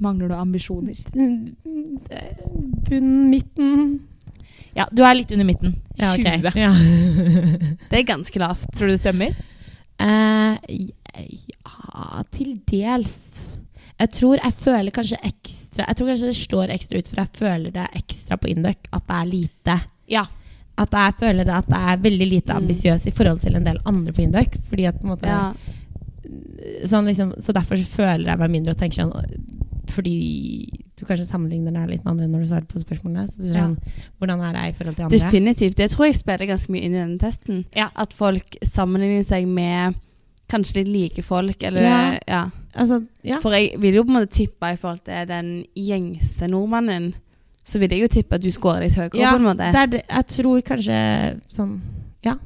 [SPEAKER 1] Mangler du ambisjoner?
[SPEAKER 3] Bunn, midten.
[SPEAKER 1] Ja, du er litt under midten. 20.
[SPEAKER 3] Ja, ok. Ja.
[SPEAKER 2] Det er ganske lavt.
[SPEAKER 1] Tror du det stemmer?
[SPEAKER 3] Eh, ja, til dels. Jeg tror jeg føler kanskje ekstra Jeg tror kanskje det slår ekstra ut, for jeg føler det ekstra på Induc at det er lite.
[SPEAKER 1] Ja.
[SPEAKER 3] At jeg føler det at det er veldig lite
[SPEAKER 2] Mm.
[SPEAKER 3] ambisiøs i forhold til en del andre på Induc. Fordi at på en måte
[SPEAKER 2] Ja.
[SPEAKER 3] sånn liksom, Så derfor så føler jeg meg mindre og tenker sånn øh, Fordi du kanskje sammenligner deg litt med andre når du svarer på spørsmålene. Så du er
[SPEAKER 1] Ja.
[SPEAKER 3] sånn, Hvordan er jeg i forhold til andre?
[SPEAKER 2] Definitivt. Det tror jeg spiller ganske mye inn i denne testen.
[SPEAKER 1] Ja.
[SPEAKER 2] At folk sammenligner seg med kanskje litt like folk, eller ja.
[SPEAKER 3] Ja. Altså, ja.
[SPEAKER 2] For jeg vil jo på en måte tippe i forhold til den gjengse nordmannen, så vil jeg jo tippe at du scorer litt høyere, på en måte.
[SPEAKER 3] det er det, jeg tror kanskje sånn Ja.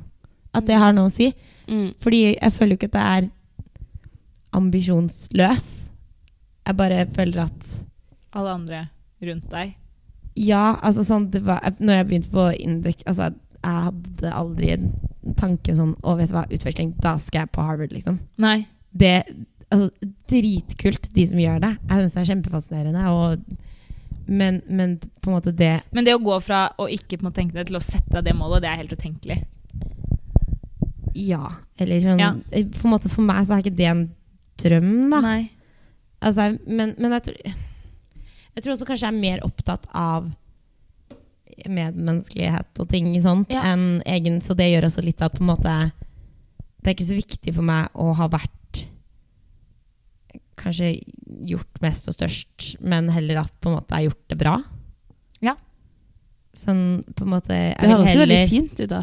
[SPEAKER 3] At det har noe å si.
[SPEAKER 2] Mm.
[SPEAKER 3] Fordi jeg føler jo ikke at det er ambisjonsløs. Jeg bare føler at
[SPEAKER 1] Alle andre rundt deg.
[SPEAKER 3] Ja, altså sånn det var, jeg- Når jeg begynte på Induc altså, Jeg hadde aldri en tanke sånn Å, vet du hva, utveksling, da skal jeg på Harvard, liksom.
[SPEAKER 1] Nei.
[SPEAKER 3] Det Altså, dritkult, de som gjør det. Jeg syns det er kjempefascinerende. Og, men, men på en måte det
[SPEAKER 1] Men det å gå fra å ikke på en måte tenke det til å sette deg det målet, det er helt utenkelig.
[SPEAKER 3] Ja. Eller sånn
[SPEAKER 1] Ja.
[SPEAKER 3] På en måte For meg så er ikke det en drøm, da.
[SPEAKER 1] Nei.
[SPEAKER 3] Altså, jeg- men, men jeg tror Jeg tror også kanskje jeg er mer opptatt av medmenneskelighet og ting sånt
[SPEAKER 1] Ja.
[SPEAKER 3] enn egen Så det gjør også litt at på en måte Det er ikke så viktig for meg å ha vært Kanskje gjort mest og størst, men heller at på en måte jeg har gjort det bra.
[SPEAKER 1] Ja.
[SPEAKER 3] Sånn på en måte jeg
[SPEAKER 2] Det
[SPEAKER 3] vil
[SPEAKER 2] høres jo veldig
[SPEAKER 3] heller-
[SPEAKER 2] fint ut, da.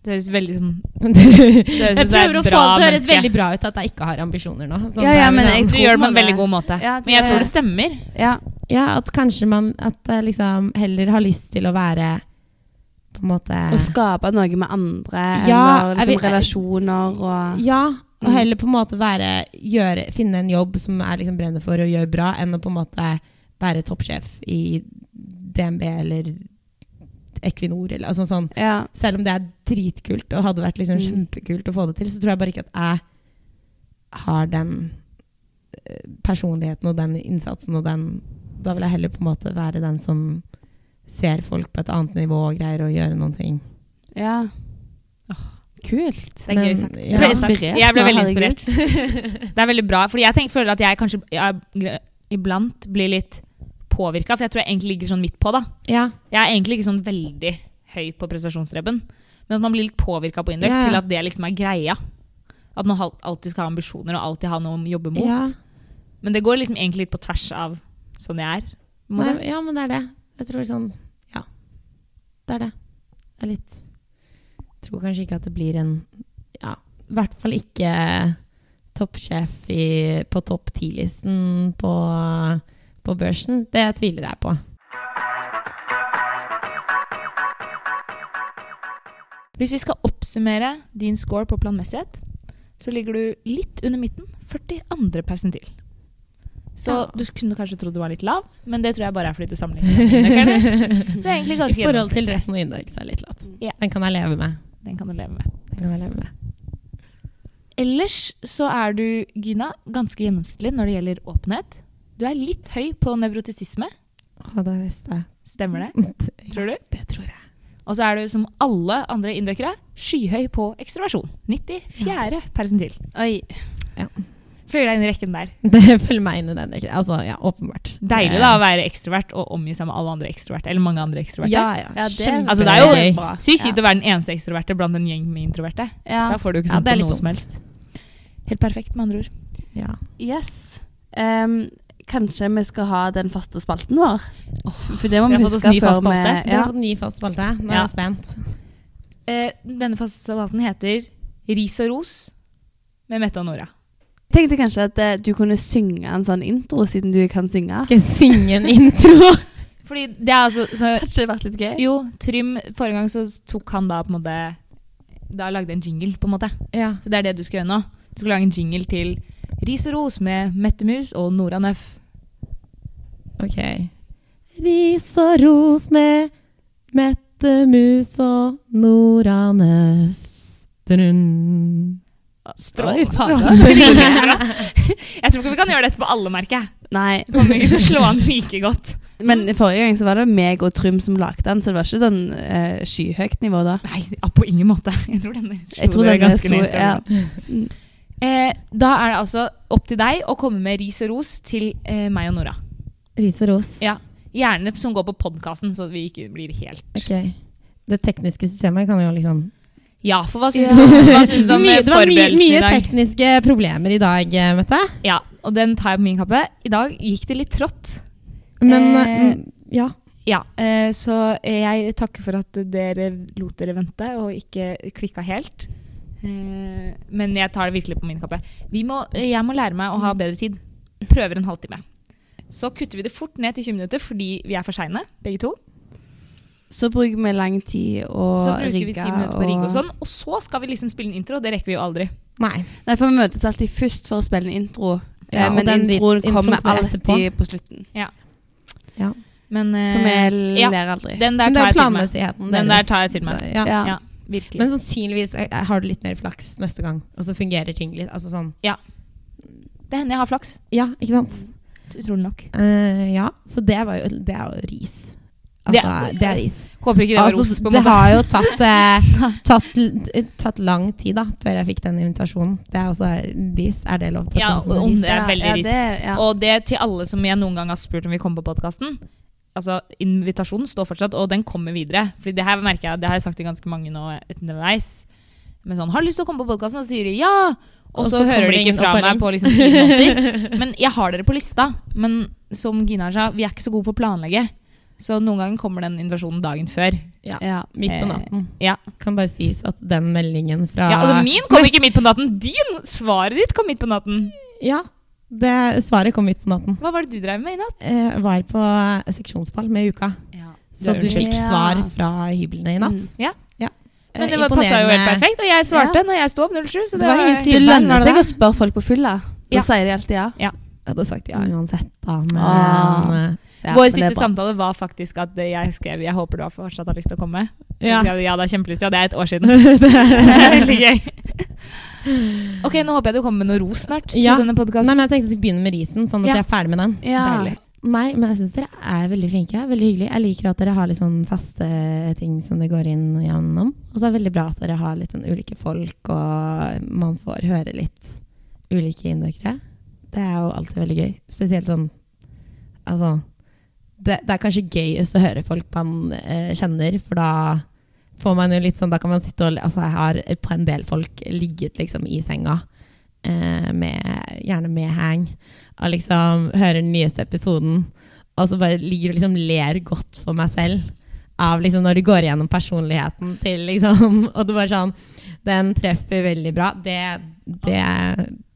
[SPEAKER 1] Det høres veldig sånn høres ut
[SPEAKER 3] jeg
[SPEAKER 1] som du er et
[SPEAKER 3] prøver å få
[SPEAKER 1] bra
[SPEAKER 3] det høres
[SPEAKER 1] menneske.
[SPEAKER 3] veldig bra ut at jeg ikke har ambisjoner nå. Sånn,
[SPEAKER 2] Ja,
[SPEAKER 3] det
[SPEAKER 2] ja,
[SPEAKER 3] er vel
[SPEAKER 2] men
[SPEAKER 3] sånn-
[SPEAKER 2] jeg
[SPEAKER 1] Du
[SPEAKER 2] tror
[SPEAKER 1] gjør det
[SPEAKER 2] på
[SPEAKER 1] på en
[SPEAKER 2] det.
[SPEAKER 1] veldig god måte.
[SPEAKER 2] Ja,
[SPEAKER 1] Men jeg tror det stemmer.
[SPEAKER 2] Ja.
[SPEAKER 3] Ja, at kanskje man At jeg liksom heller har lyst til å være På en måte
[SPEAKER 2] Å skape noe med andre,
[SPEAKER 3] Ja,
[SPEAKER 2] eller
[SPEAKER 3] jeg
[SPEAKER 2] liksom
[SPEAKER 3] vil-
[SPEAKER 2] relasjoner og
[SPEAKER 3] Ja, og
[SPEAKER 2] Mm.
[SPEAKER 3] heller på en måte være gjøre, Finne en jobb som jeg liksom brenner for og gjør bra, enn å på en måte være toppsjef i DNB eller Equinor eller altså sånn.
[SPEAKER 2] Ja.
[SPEAKER 3] Selv om det er dritkult og hadde vært liksom
[SPEAKER 2] Mm.
[SPEAKER 3] kjempekult å få det til, så tror jeg bare ikke at jeg har den eh, personligheten og den innsatsen og den Da vil jeg heller på en måte være den som ser folk på et annet nivå og greier å gjøre noen ting.
[SPEAKER 2] ja. Kult.
[SPEAKER 1] Det er
[SPEAKER 3] Men,
[SPEAKER 1] gøy sagt.
[SPEAKER 3] ja.
[SPEAKER 1] Bra
[SPEAKER 2] Jeg
[SPEAKER 1] sagt.
[SPEAKER 2] ble inspirert
[SPEAKER 1] Jeg ble
[SPEAKER 2] nå,
[SPEAKER 1] veldig
[SPEAKER 2] herregud.
[SPEAKER 1] inspirert. Det er veldig bra. Fordi jeg tenker, føler at jeg kanskje ja, gre- iblant blir litt påvirka, for jeg tror jeg egentlig ligger sånn midt på, da.
[SPEAKER 3] Ja.
[SPEAKER 1] Jeg er egentlig ikke sånn veldig høy på prestasjonsstreben, men at man blir litt påvirka på indeks
[SPEAKER 3] Ja.
[SPEAKER 1] til at det liksom er greia. At man hal- alltid skal ha ambisjoner og alltid ha noe å jobbe mot.
[SPEAKER 3] Ja.
[SPEAKER 1] Men det går liksom egentlig litt på tvers av sånn jeg er. på en
[SPEAKER 3] Nei,
[SPEAKER 1] måte.
[SPEAKER 3] ja, men det er det. Jeg tror sånn Ja. Det er det. Det er litt Tror kanskje ikke at det blir en Ja, i hvert fall ikke toppsjef i, på topp 10-listen på, på børsen. Det tviler jeg på.
[SPEAKER 1] Hvis vi skal oppsummere din score på planmessighet, så ligger du litt under midten, 42. persentil. Så
[SPEAKER 3] Ja.
[SPEAKER 1] du kunne kanskje trodd du var litt lav, men det tror jeg bare er fordi du sammenligner med dine nøkler. Så det er egentlig
[SPEAKER 3] I
[SPEAKER 1] ganske
[SPEAKER 3] forhold til
[SPEAKER 1] gjennomsnittlig.
[SPEAKER 3] resten av Indorg, så er det litt latt.
[SPEAKER 1] Ja.
[SPEAKER 3] Den kan jeg leve med.
[SPEAKER 1] Den kan du leve med.
[SPEAKER 3] Den kan jeg leve med.
[SPEAKER 1] Ellers så er du, Gina, ganske gjennomsnittlig når det gjelder åpenhet. Du er litt høy på nevrotisisme,
[SPEAKER 3] Å, det visste jeg.
[SPEAKER 1] stemmer det? Tror du?
[SPEAKER 3] Det tror jeg.
[SPEAKER 1] Og så er du, som alle andre indøkere, skyhøy på ekstroversjon. 94. persentil.
[SPEAKER 2] Oi.
[SPEAKER 1] Føyer deg inn i rekken der.
[SPEAKER 3] Det følger meg inn i den. ikke? Altså, ja, åpenbart.
[SPEAKER 1] Deilig da å være ekstrovert og omgi seg med alle andre ekstroverte. Eller mange andre ekstroverte.
[SPEAKER 3] Ja, ja.
[SPEAKER 2] Ja, det,
[SPEAKER 3] Kjempe-
[SPEAKER 1] Altså, det er jo-
[SPEAKER 3] gøy.
[SPEAKER 2] bra.
[SPEAKER 1] Sykt kjipt å være den eneste ekstroverte blant en gjeng med introverte.
[SPEAKER 2] Ja.
[SPEAKER 1] Da får du jo ikke
[SPEAKER 3] Ja,
[SPEAKER 1] funnet
[SPEAKER 3] det
[SPEAKER 1] på
[SPEAKER 3] er
[SPEAKER 1] noe
[SPEAKER 3] litt dumt.
[SPEAKER 1] som helst. Helt perfekt, med andre ord.
[SPEAKER 3] Ja.
[SPEAKER 2] Yes. Ehm, kanskje vi skal ha den faste spalten vår? For det må
[SPEAKER 1] vi
[SPEAKER 2] vi
[SPEAKER 1] har fått oss
[SPEAKER 2] huske
[SPEAKER 1] ny fast
[SPEAKER 2] før vi
[SPEAKER 1] spalte.
[SPEAKER 3] Dere
[SPEAKER 2] ja.
[SPEAKER 3] har fått ny fast spalte. Nå er
[SPEAKER 1] Ja.
[SPEAKER 3] jeg spent.
[SPEAKER 1] Eh, denne faste salaten heter Ris og ros med Mette og Nora.
[SPEAKER 2] Tenkte kanskje at eh, du kunne synge en sånn intro, siden du kan synge.
[SPEAKER 3] Skal jeg synge en intro?
[SPEAKER 1] Fordi det er altså så,
[SPEAKER 2] Hadde ikke det vært litt gøy?
[SPEAKER 1] Eh, Jo, Trym Forrige gang så tok han da på en måte Da lagde en jingle, på en måte.
[SPEAKER 3] ja.
[SPEAKER 1] Så det er det du skal gjøre nå. Du skal lage en jingle til Ris og ros med Mette Mus og Nora Nøff.
[SPEAKER 3] Ok. Ris og ros med Mette Mus og Nora Nøff. Dun.
[SPEAKER 2] Oi,
[SPEAKER 1] Strålende.
[SPEAKER 2] fader.
[SPEAKER 1] Jeg tror ikke vi kan gjøre dette på alle, merker jeg.
[SPEAKER 2] Nei,
[SPEAKER 1] Det Kommer ikke til å slå an like godt.
[SPEAKER 2] men forrige gang så var det meg og Trym som lagde den, så det var ikke sånn eh, skyhøyt nivå da.
[SPEAKER 1] Nei, ja, på ingen måte. Jeg tror denne slo
[SPEAKER 2] Jeg tror
[SPEAKER 1] dere
[SPEAKER 2] den er
[SPEAKER 1] ganske ned i
[SPEAKER 2] stor. Ja.
[SPEAKER 1] støvlene. Eh, da er det altså opp til deg å komme med ris og ros til eh, meg og Nora.
[SPEAKER 3] Ris og ros.
[SPEAKER 1] Ja, Gjerne som går på podkasten, så vi ikke blir helt
[SPEAKER 3] Ok. Det tekniske systemet kan jo liksom
[SPEAKER 1] Ja, for hva syns du, hva syns du om
[SPEAKER 3] Mye-
[SPEAKER 1] eh,
[SPEAKER 3] Det var mye,
[SPEAKER 1] forberedelsen i
[SPEAKER 3] mye
[SPEAKER 1] dag?
[SPEAKER 3] tekniske problemer i dag, eh, Mette.
[SPEAKER 1] Ja, og den tar jeg på min kappe. I dag gikk det litt trått.
[SPEAKER 3] Men
[SPEAKER 1] Eh,
[SPEAKER 3] eh, mm, ja.
[SPEAKER 1] Ja, eh, så jeg takker for at dere lot dere vente og ikke klikka helt. Eh, Men jeg tar det virkelig på min kappe. Vi må, jeg må lære meg å ha bedre tid. Prøver en halvtime. Så kutter vi det fort ned til 20 minutter fordi vi er for seine, begge to.
[SPEAKER 2] Så bruker vi lang tid å
[SPEAKER 1] Så bruker vi 10
[SPEAKER 2] rigge.
[SPEAKER 1] minutter på rigg og sånn. Og så skal vi liksom spille en intro, og det rekker vi jo aldri.
[SPEAKER 3] Nei.
[SPEAKER 2] Nei, for vi møtes alltid først for å spille en intro.
[SPEAKER 3] Ja,
[SPEAKER 2] eh,
[SPEAKER 3] og
[SPEAKER 2] men
[SPEAKER 3] den
[SPEAKER 2] introen
[SPEAKER 3] introen
[SPEAKER 2] kommer
[SPEAKER 3] kommer
[SPEAKER 2] alltid på.
[SPEAKER 3] etterpå.
[SPEAKER 2] slutten.
[SPEAKER 3] Ja.
[SPEAKER 1] Men eh,
[SPEAKER 2] Så vi
[SPEAKER 1] ja,
[SPEAKER 2] ler aldri.
[SPEAKER 1] den der
[SPEAKER 3] Men det
[SPEAKER 1] tar
[SPEAKER 3] er
[SPEAKER 1] jeg til meg.
[SPEAKER 3] planmessigheten
[SPEAKER 1] Den der
[SPEAKER 3] deres.
[SPEAKER 1] tar jeg til meg.
[SPEAKER 3] Ja.
[SPEAKER 2] Ja.
[SPEAKER 1] Ja, virkelig.
[SPEAKER 3] Men sannsynligvis eh, har du litt mer flaks neste gang, og så fungerer ting litt. Altså sånn
[SPEAKER 1] Det hender jeg har flaks.
[SPEAKER 3] Ja, ikke sant?
[SPEAKER 1] Utrolig nok.
[SPEAKER 3] Eh, ja, så det, var jo, det er jo ris.
[SPEAKER 1] Det-
[SPEAKER 3] Altså, det, er ris.
[SPEAKER 1] Håper ikke det var
[SPEAKER 3] Altså,
[SPEAKER 1] ros, på en
[SPEAKER 3] det
[SPEAKER 1] måte.
[SPEAKER 3] har jo tatt, eh, tatt, l- tatt lang tid da, før jeg fikk den invitasjonen. Det er også eh, ris. Er det lov til å
[SPEAKER 1] Ja,
[SPEAKER 3] komme som en
[SPEAKER 1] om
[SPEAKER 3] ris?
[SPEAKER 1] det er veldig
[SPEAKER 2] ja,
[SPEAKER 1] ris.
[SPEAKER 2] det, ja.
[SPEAKER 1] Og det til alle som jeg noen gang har spurt om vi kommer på podkasten. Altså, invitasjonen står fortsatt, og den kommer videre. Fordi det her merker jeg, det har jeg sagt til ganske mange nå underveis. Men sånn, har du lyst til å komme på podkasten? Og så sier de ja! Og,
[SPEAKER 3] Og
[SPEAKER 1] så,
[SPEAKER 3] så kommer
[SPEAKER 1] hører de
[SPEAKER 3] det
[SPEAKER 1] ikke
[SPEAKER 3] ingen
[SPEAKER 1] fra meg
[SPEAKER 3] oppfølging.
[SPEAKER 1] på liksom fire måneder. Men jeg har dere på lista. Men som Gina sa, vi er ikke så gode på å planlegge. Så noen ganger kommer den invitasjonen dagen før.
[SPEAKER 2] Ja.
[SPEAKER 3] Midt på
[SPEAKER 1] Eh,
[SPEAKER 3] natten.
[SPEAKER 1] ja.
[SPEAKER 3] Kan bare sies at den meldingen fra
[SPEAKER 1] Ja, altså Min kom ikke midt på natten. Din! Svaret ditt kom midt på natten.
[SPEAKER 3] Ja, det svaret kom midt på natten.
[SPEAKER 1] Hva var det du drev med i natt?
[SPEAKER 3] Eh, var på seksjonsball med uka,
[SPEAKER 1] Ja.
[SPEAKER 3] så
[SPEAKER 1] Det er
[SPEAKER 3] du
[SPEAKER 1] unnskyld.
[SPEAKER 3] fikk
[SPEAKER 2] Ja.
[SPEAKER 3] svar fra hyblene i natt.
[SPEAKER 1] Ja.
[SPEAKER 3] Eh,
[SPEAKER 1] Men det var, passet jo helt
[SPEAKER 3] imponerende.
[SPEAKER 1] perfekt, og jeg svarte når jeg sto opp 07. Så det,
[SPEAKER 3] Det var ingen
[SPEAKER 2] Det
[SPEAKER 3] Tilbang, var
[SPEAKER 2] lønner
[SPEAKER 3] det
[SPEAKER 2] seg
[SPEAKER 3] det?
[SPEAKER 2] å spørre folk på fylla. Da
[SPEAKER 1] Ja.
[SPEAKER 2] sier de alltid ja.
[SPEAKER 3] Jeg hadde sagt ja uansett, da. Men,
[SPEAKER 2] Ah. ja
[SPEAKER 1] Vår
[SPEAKER 2] men det er
[SPEAKER 1] siste
[SPEAKER 2] bra.
[SPEAKER 1] samtale var faktisk at eh, jeg skrev Jeg håper du har fortsatt har lyst til å komme.
[SPEAKER 3] eh, ja.
[SPEAKER 1] Ja, ja det er kjempelyst. Ja, det er et år siden. det er veldig gøy. Ok, nå håper jeg du kommer med noe ros snart til
[SPEAKER 3] Ja.
[SPEAKER 1] denne podkasten.
[SPEAKER 3] Nei, men jeg tenkte jeg skulle begynne med risen, sånn at
[SPEAKER 1] Ja.
[SPEAKER 3] jeg er ferdig med den.
[SPEAKER 2] Ja. Mm.
[SPEAKER 1] Deilig.
[SPEAKER 3] Nei, men jeg syns dere er veldig flinke. Veldig hyggelig. Jeg liker at dere har litt sånn faste ting som det går inn gjennom. Og så er det veldig bra at dere har litt sånn ulike folk, og man får høre litt ulike innøkere. Det er jo alltid veldig gøy. Spesielt sånn Altså Det, det er kanskje gøyest å høre folk man eh, kjenner, for da får man jo litt sånn Da kan man sitte og Altså, jeg har på en del folk ligget liksom i senga, eh, med, gjerne med hang og liksom hører den nyeste episoden, og så bare ligger og liksom ler godt for meg selv av liksom når de går igjennom personligheten til liksom Og det er bare sånn Den treffer veldig bra. Det, det,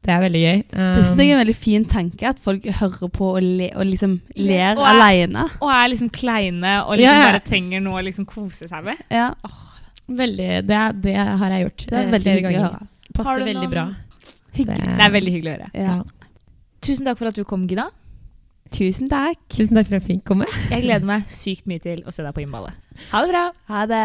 [SPEAKER 3] det er veldig gøy. Um,
[SPEAKER 2] Det synes jeg er en veldig fin tanke, at folk hører på og, le, og liksom ler
[SPEAKER 1] Og er-
[SPEAKER 2] alene.
[SPEAKER 1] Og er liksom kleine og liksom
[SPEAKER 3] Ja, ja.
[SPEAKER 1] bare trenger noe å liksom kose seg med.
[SPEAKER 2] Ja.
[SPEAKER 3] veldig, det, det har jeg gjort
[SPEAKER 2] Det er
[SPEAKER 3] eh,
[SPEAKER 2] veldig
[SPEAKER 3] flere
[SPEAKER 2] hyggelig å
[SPEAKER 3] ganger.
[SPEAKER 2] høre.
[SPEAKER 1] Har
[SPEAKER 3] Passer
[SPEAKER 1] du
[SPEAKER 3] veldig
[SPEAKER 1] noen-
[SPEAKER 3] bra.
[SPEAKER 2] Hyggelig.
[SPEAKER 1] Det er veldig hyggelig å høre.
[SPEAKER 2] Ja.
[SPEAKER 1] Tusen takk for at du kom, Gina.
[SPEAKER 2] Tusen takk.
[SPEAKER 3] Tusen takk for at jeg fikk komme.
[SPEAKER 1] Jeg gleder meg sykt mye til å se deg på innballet. Ha det bra.
[SPEAKER 2] Ha det.